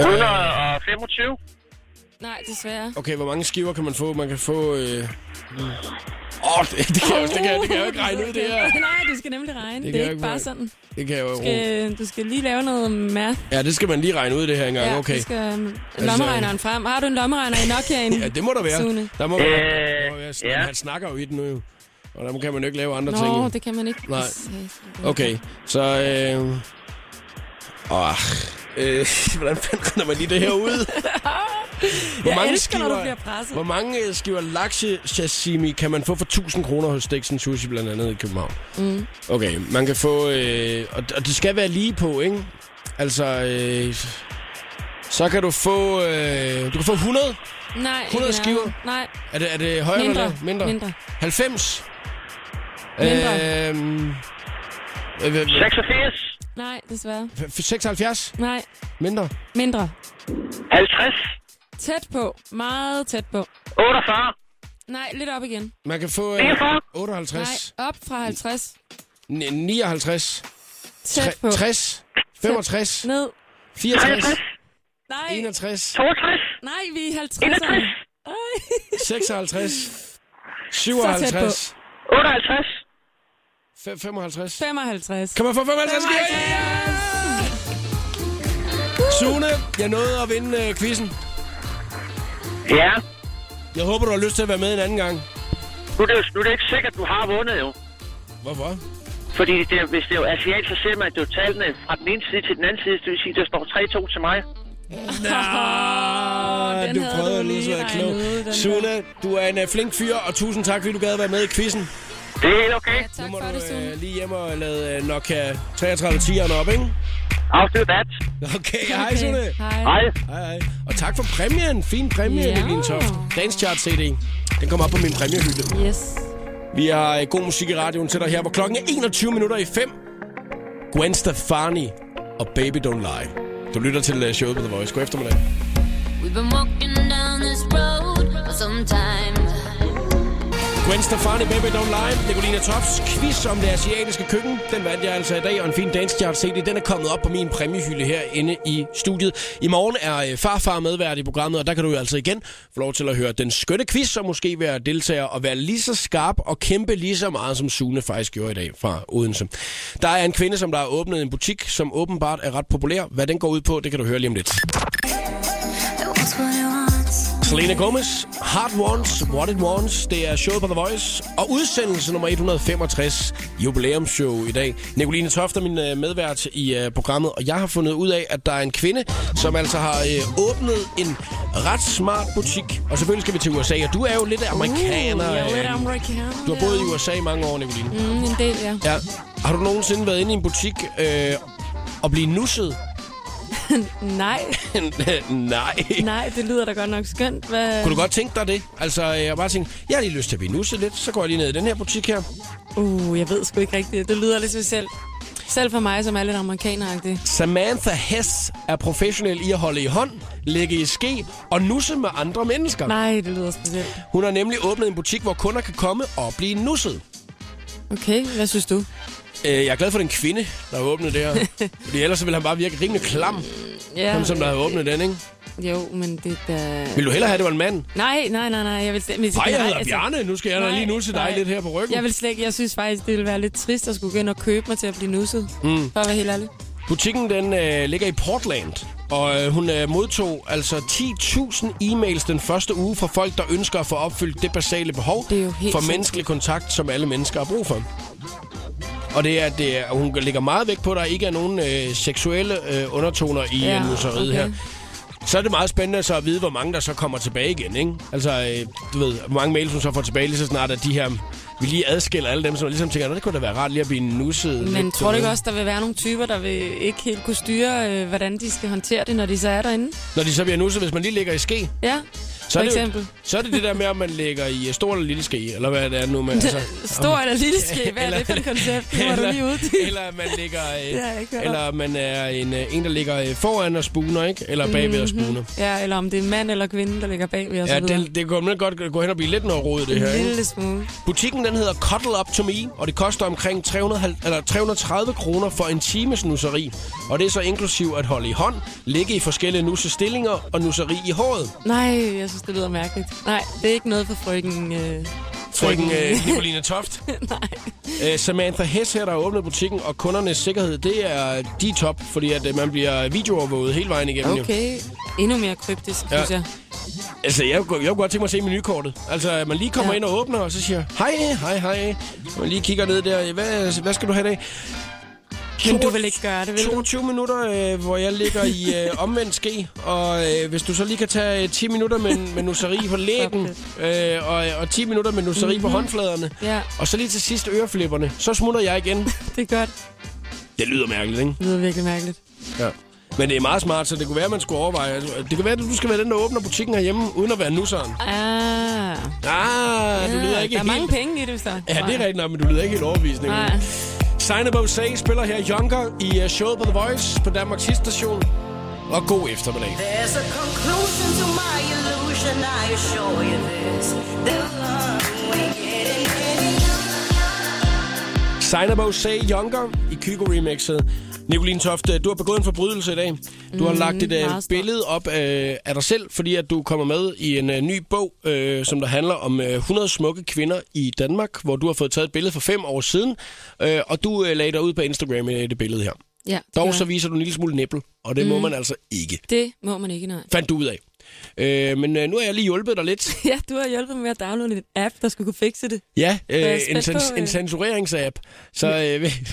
Speaker 9: 125.
Speaker 2: Nej, desværre.
Speaker 1: Okay, hvor mange skiver kan man få? Man kan få... Øh... Åh, oh, det, det, kan jeg, jo- det, kan, jeg- det kan jeg jo ikke regne ud, det her.
Speaker 2: Nej, du skal nemlig regne.
Speaker 1: Det kan
Speaker 2: Det, det er
Speaker 1: jeg
Speaker 2: ikke
Speaker 1: ikke
Speaker 2: bare
Speaker 1: regne.
Speaker 2: sådan.
Speaker 1: Det kan jeg jo
Speaker 2: Du skal, du skal lige lave noget math.
Speaker 1: Ja, det skal man lige regne ud, det her engang.
Speaker 2: Ja,
Speaker 1: okay. Altså,
Speaker 2: Du skal øhm, lommeregneren frem. Har du en lommeregner i Nokia'en?
Speaker 1: Ja, det må der være.
Speaker 2: Sune?
Speaker 1: Der må være. Der må være. Ja. Han snakker jo i den nu, jo. og der kan man jo ikke lave andre ting.
Speaker 2: Nå,
Speaker 1: jo.
Speaker 2: det kan man ikke.
Speaker 1: Nej.
Speaker 2: Satan.
Speaker 1: Okay, så... Øh... Åh, øh, hvordan fanden render man lige det her ud?
Speaker 2: Jeg elsker, når du bliver presset.
Speaker 1: hvor mange øh, skiver lakse sashimi kan man få for 1000 kroner hos Dixon Sushi, blandt andet i København?
Speaker 2: Mm.
Speaker 1: Okay, man kan få... Øh, og, og det skal være lige på, ikke? Altså... Øh, så kan du få... Øh, du kan få 100. 100
Speaker 2: Nej. ikke
Speaker 1: skiver?
Speaker 2: nærmere. Nej.
Speaker 1: Er det, er det højere
Speaker 2: Mindre.
Speaker 1: eller mindre?
Speaker 2: Mindre.
Speaker 1: 90?
Speaker 2: Mindre.
Speaker 1: Øhm, øh, øh,
Speaker 9: 86.
Speaker 2: Nej, desværre.
Speaker 1: f- 76?
Speaker 2: Nej.
Speaker 1: Mindre?
Speaker 2: Mindre.
Speaker 9: 50.
Speaker 2: Tæt på. Meget tæt på.
Speaker 9: 48.
Speaker 2: Nej, lidt op igen.
Speaker 1: Man kan få øh,
Speaker 9: 49.
Speaker 1: 58,
Speaker 2: Nej, op fra 50.
Speaker 1: ni- 59,
Speaker 2: Tæt
Speaker 1: tre-
Speaker 2: på.
Speaker 1: 60, 65,
Speaker 2: Ned.
Speaker 1: 64,
Speaker 2: Nej.
Speaker 1: 61,
Speaker 9: 62.
Speaker 2: Nej, vi er 50'erne. Nej.
Speaker 1: 56,
Speaker 2: Så tæt
Speaker 1: 57,
Speaker 9: 58.
Speaker 1: fe- 55.
Speaker 2: 55.
Speaker 1: Kan man få 55 skiver? Sune, jeg nåede at vinde øh, quizzen.
Speaker 9: Ja.
Speaker 1: Jeg håber, du har lyst til at være med en anden gang.
Speaker 9: Nu er, det, jo- nu er det ikke sikkert, du har vundet jo.
Speaker 1: Hvorfor?
Speaker 9: Fordi det, er- hvis det er jo asiat, så ser man, at det er jo tallene fra den ene side til den anden side. Det vil sige, at der står 3-2 til mig.
Speaker 1: Ah,
Speaker 2: den
Speaker 1: du
Speaker 2: havde
Speaker 1: prøvede
Speaker 2: du
Speaker 1: at lyde
Speaker 2: lige
Speaker 1: så
Speaker 2: regnet
Speaker 1: klog.
Speaker 2: ud, den
Speaker 1: Sune, du er en øh, flink fyr, og tusind tak, fordi du gad at være med i quizzen.
Speaker 9: Det er helt okay.
Speaker 2: Tak
Speaker 1: Nu må
Speaker 2: for
Speaker 1: du
Speaker 2: det, Sune.
Speaker 1: øh, lige hjemme og lade øh, Nokia 3310'eren op, ikke?
Speaker 9: After that.
Speaker 1: Okay, hej Sune.
Speaker 2: Hej.
Speaker 9: Hej.
Speaker 1: Hej, hej. Og tak for præmien. Fin præmie,
Speaker 2: Ja.
Speaker 1: yeah. Nicoline Toft. Dance Chart CD. Den kommer op på min præmiehylde.
Speaker 2: Yes.
Speaker 1: Vi har øh, god musik i radioen til dig her, hvor klokken er 21 minutter i 5. Gwen Stefani og Baby Don't Lie. Du lytter til øh, showet på The Voice. God eftermiddag.
Speaker 4: We've been walking down this road for some time.
Speaker 1: Gwen Stefani, Baby Don't Lie, Nicolina Tofts quiz om det asiatiske køkken. Den vandt jeg altså i dag, og en fin Dance Chart CD, den er kommet op på min præmiehylde herinde i studiet. I morgen er øh, farfar medvært i programmet, og der kan du jo altså igen få lov til at høre den skønne quiz, og måske være deltager og være lige så skarp og kæmpe lige så meget, som Sune faktisk gjorde i dag fra Odense. Der er en kvinde, som der har åbnet en butik, som åbenbart er ret populær. Hvad den går ud på, det kan du høre lige om lidt. Selena Gomez, Heart Wants, What It Wants, det er showet på The Voice, og udsendelse nummer 165, jubilæumsshow i dag. Nicoline Toft er min øh, medvært i øh, programmet, og jeg har fundet ud af, at der er en kvinde, som altså har øh, åbnet en ret smart butik, og selvfølgelig skal vi til USA, og du er jo lidt amerikaner.
Speaker 2: Uh, jeg er lidt
Speaker 1: øh,
Speaker 2: amerikaner.
Speaker 1: du har boet i USA i mange år, Nicoline.
Speaker 2: Mm, en del, ja.
Speaker 1: Ja. Har du nogensinde været inde i en butik øh, og blive nusset?
Speaker 2: Nej,
Speaker 1: Nej.
Speaker 2: nej, det lyder da godt nok skønt. Hvad...
Speaker 1: Kunne du godt tænke dig det? Altså, jeg bare tænkte, jeg har lige lyst til at blive nusset lidt, så går jeg lige ned i den her butik her.
Speaker 2: Uh, jeg ved sgu ikke rigtigt. Det lyder lidt specielt. Selv for mig, som er lidt amerikaneragtig.
Speaker 1: Samantha Hess er professionel i at holde i hånd, lægge i ske og nusse med andre mennesker.
Speaker 2: Nej, det lyder specielt.
Speaker 1: Hun har nemlig åbnet en butik, hvor kunder kan komme og blive nusset.
Speaker 2: Okay, hvad synes du?
Speaker 1: Øh, jeg er glad for den kvinde, der har åbnet det her. Fordi ellers så ville han bare virke rimelig klam,
Speaker 2: Ja,
Speaker 1: ham som der har åbnet den, ikke?
Speaker 2: Jo, men det er da...
Speaker 1: Vil du hellere have, at det var en mand?
Speaker 2: Nej, nej, nej, nej. Jeg vil slet... men
Speaker 1: Hej, jeg hedder
Speaker 2: altså-
Speaker 1: Bjarne. Nu skal jeg da
Speaker 2: Nej,
Speaker 1: lige nusse dig
Speaker 2: nej.
Speaker 1: lidt her på ryggen.
Speaker 2: Jeg vil slet ikke, jeg synes faktisk, det ville være lidt trist at skulle gå ind og købe mig til at blive nusset.
Speaker 1: Mm.
Speaker 2: For at være helt ærlig.
Speaker 1: Butikken den øh, ligger i Portland, og øh, hun øh, modtog altså 10.000 e-mails den første uge fra folk, der ønsker at få opfyldt det basale behov
Speaker 2: Det er jo helt
Speaker 1: for
Speaker 2: sindssygt.
Speaker 1: menneskelig kontakt, som alle mennesker har brug for. Og det er, at det er, at hun lægger meget vægt på, at der ikke er nogen øh, seksuelle øh, undertoner i ja,
Speaker 2: Ja,
Speaker 1: nusseriet
Speaker 2: okay.
Speaker 1: her. Så er det meget spændende så at vide, hvor mange der så kommer tilbage igen, ikke? Altså, øh, du ved, hvor mange mails hun så får tilbage lige så snart, at de her vi lige adskiller alle dem, som ligesom tænker, "Nå, det kunne da være rart lige at blive nusset. lidt
Speaker 2: Men tror du ikke
Speaker 1: derude."
Speaker 2: også, der vil være nogle typer, der vil ikke helt kunne styre, øh, hvordan de skal håndtere det, når de så er derinde?
Speaker 1: Når de så bliver nusset, hvis man lige ligger i ske,
Speaker 2: Ja,
Speaker 1: så
Speaker 2: for
Speaker 1: er, det
Speaker 2: eksempel.
Speaker 1: jo, så er det det der med, om man ligger i øh, stor eller lille ske, eller hvad det er nu med.
Speaker 2: Stor eller lille ske, hvad er det for et koncept? Det må du
Speaker 1: eller-
Speaker 2: lige uddybe.
Speaker 1: Eller at man ligger... øh,
Speaker 2: Det har jeg ikke hørt om.
Speaker 1: Eller man er en, øh, en der ligger øh, foran og spuner, ikke? Eller bagved og spuner.
Speaker 2: Ja, eller om det er mand eller kvinde, der ligger bagved Mhm. og så
Speaker 1: Ja,
Speaker 2: videre.
Speaker 1: det, det kunne godt gå hen og blive lidt noget rodet, det her,
Speaker 2: En
Speaker 1: ikke?
Speaker 2: lille smule.
Speaker 1: Butikken den hedder Cuddle Up To Me, og det koster omkring 300, eller 330 kroner for en times nusseri. Og det er så inklusiv at holde i hånd, ligge i forskellige nussestillinger og nusseri i håret.
Speaker 2: Nej, jeg synes, det lyder mærkeligt. Nej, det er ikke noget for frøken... Øh,
Speaker 1: Frøken øh, Nicoline Toft. Nej. Øh, Samantha Hess her, der har åbnet butikken, og kundernes sikkerhed, det er de top, fordi at, øh, man bliver videoovervåget hele vejen igennem. jo.
Speaker 2: Okay, endnu mere kryptisk,
Speaker 1: Ja.
Speaker 2: ja. synes jeg.
Speaker 1: Altså, jeg, kunne- jeg kunne godt tænke mig at se menukortet. Altså, at man lige kommer ja.
Speaker 2: Ja.
Speaker 1: ind og åbner, og så siger, hej, hej, hej. Man lige kigger ned der, hvad, hvad skal du have i dag?
Speaker 2: Men du vil ikke gøre det, vil du?
Speaker 1: 22 minutter, øh, hvor jeg ligger i øh, omvendt ske, og øh, hvis du så lige kan tage øh, 10 minutter med, med nusseri på læben, øh, og, og 10 minutter med nusseri mm-hmm. på
Speaker 2: Mhm.
Speaker 1: håndfladerne,
Speaker 2: Ja,
Speaker 1: og så lige til sidst øreflipperne, så smutter jeg igen.
Speaker 2: det er godt.
Speaker 1: Det lyder mærkeligt, ikke?
Speaker 2: Det lyder virkelig mærkeligt.
Speaker 1: Ja. Men det er meget smart, så det kunne være, man skulle overveje. altså, Det kan være, at du skal være den, der åbner butikken herhjemme, uden at være nusseren.
Speaker 2: Ah,
Speaker 1: Ah, du lyder
Speaker 2: ah,
Speaker 1: ikke helt...
Speaker 2: der er mange penge i det, så.
Speaker 1: Ja, det er rigtigt nok, men du lyder ikke helt overbevisende.
Speaker 2: Nej.
Speaker 1: Signabo Say spiller her Junker i øh, showet på The Voice på Danmarks Hitstation. Og god eftermiddag.
Speaker 3: There's a conclusion to my illusion, I assure you this. The love we're getting, getting
Speaker 1: Signabo Say Younger i Kygo remixet. Nicoline Toft, øh, du har begået en forbrydelse i dag. Du har
Speaker 2: Mm,
Speaker 1: lagt et øh,
Speaker 2: meget stor.
Speaker 1: billede op øh, af dig selv, fordi at du kommer med i en øh, ny bog, øh, som der handler om øh, 100 smukke kvinder i Danmark, hvor du har fået taget et billede for fem år siden, øh, og du øh, lagde dig ud på Instagram i det billede her.
Speaker 2: Ja, det gør
Speaker 1: Dog så
Speaker 2: jeg.
Speaker 1: viser du en lille smule næbbel, og det mm. må man altså ikke.
Speaker 2: Det må man ikke, nej.
Speaker 1: Fandt du ud af. Øh, men øh, nu har jeg lige hjulpet dig lidt.
Speaker 2: Ja, du har hjulpet mig med at downloade en app, der skulle kunne fikse det.
Speaker 1: Ja,
Speaker 2: er
Speaker 1: øh,
Speaker 2: jeg
Speaker 1: en,
Speaker 2: spændt
Speaker 1: sens-
Speaker 2: på, øh.
Speaker 1: en censureringsapp. Så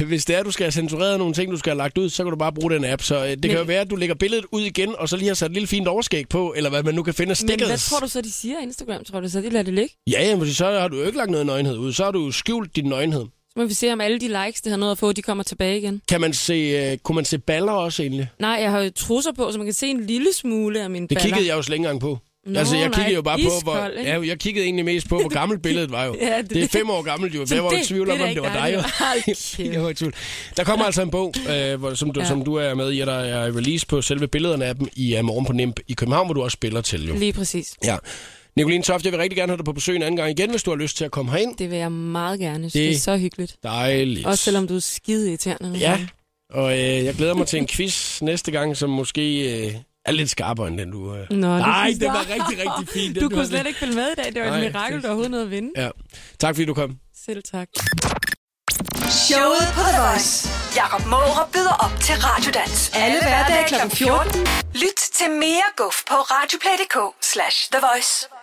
Speaker 1: øh, hvis det er, du skal have censureret nogle ting, du skal have lagt ud, så kan du bare bruge den app. Så øh, det kan
Speaker 2: Men-
Speaker 1: jo være, at du lægger billedet ud igen, og så lige har sat et lille fint overskæg på, eller hvad man nu kan finde af
Speaker 2: Men
Speaker 1: stikket.
Speaker 2: hvad tror du så, de siger af Instagram? Tror du så, de lader det ligge?
Speaker 1: Ja, ja, men så har du jo ikke lagt noget nøgenhed ud. Så har du jo skjult din nøgenhed.
Speaker 2: Så må vi se, om alle de likes, det har noget at få, de kommer tilbage igen.
Speaker 1: Kan man se, øh, kunne man se baller også egentlig?
Speaker 2: Nej, jeg har jo trusser på, så man kan se en lille smule af
Speaker 1: Det
Speaker 2: mine baller.
Speaker 1: kiggede jeg jo slet ikke engang på.
Speaker 2: Nå,
Speaker 1: altså, jeg
Speaker 2: nej,
Speaker 1: kiggede jo bare på, hvor,
Speaker 2: iskold, ikke?
Speaker 1: ja, jeg kiggede egentlig mest på, hvor gammelt billedet var jo.
Speaker 2: Ja,
Speaker 1: det,
Speaker 2: det-
Speaker 1: det, er fem år gammelt jo.
Speaker 2: Så
Speaker 1: Jeg var i
Speaker 2: det-
Speaker 1: tvivl
Speaker 2: det
Speaker 1: om,
Speaker 2: er da
Speaker 1: om det
Speaker 2: ikke
Speaker 1: var dig
Speaker 2: dig,
Speaker 1: jo.
Speaker 2: det var- Hold kæft.
Speaker 1: Jeg var i tvivl. Der kommer altså en bog, øh, hvor, som, du, ja.
Speaker 2: Ja.
Speaker 1: som du er med i, og der er release på selve billederne af dem i uh, morgen på NIMP i København, hvor du også spiller til jo.
Speaker 2: Lige præcis.
Speaker 1: Ja. Nicoline Toft, jeg vil rigtig gerne have dig på besøg en anden gang igen, hvis du har lyst til at komme herind.
Speaker 2: Det vil jeg meget gerne. Det,
Speaker 1: Det-
Speaker 2: det er så hyggeligt.
Speaker 1: Dejligt.
Speaker 2: Også selvom du er skide irriterende. nogle
Speaker 1: Ja,
Speaker 2: gange.
Speaker 1: og øh, jeg glæder mig til en quiz næste gang, som måske øh, er lidt skarpere end den, du... Øh.
Speaker 2: Nå, det
Speaker 1: Nej,
Speaker 2: synes
Speaker 1: det
Speaker 2: jeg.
Speaker 1: var rigtig, rigtig fint. den
Speaker 2: Du kunne
Speaker 1: havde
Speaker 2: slet
Speaker 1: lidt-
Speaker 2: ikke følge med i dag. Det var
Speaker 1: Nej,
Speaker 2: et mirakel,
Speaker 1: det-
Speaker 2: du overhovedet nåede at vinde.
Speaker 1: Ja. Tak fordi du kom.
Speaker 2: Selv tak.
Speaker 3: Showet på The Voice. Jakob Mårup byder op til Radiodans. Alle hverdage kl. 14. Lyt til mere guf på radioplay.dk slash The Voice.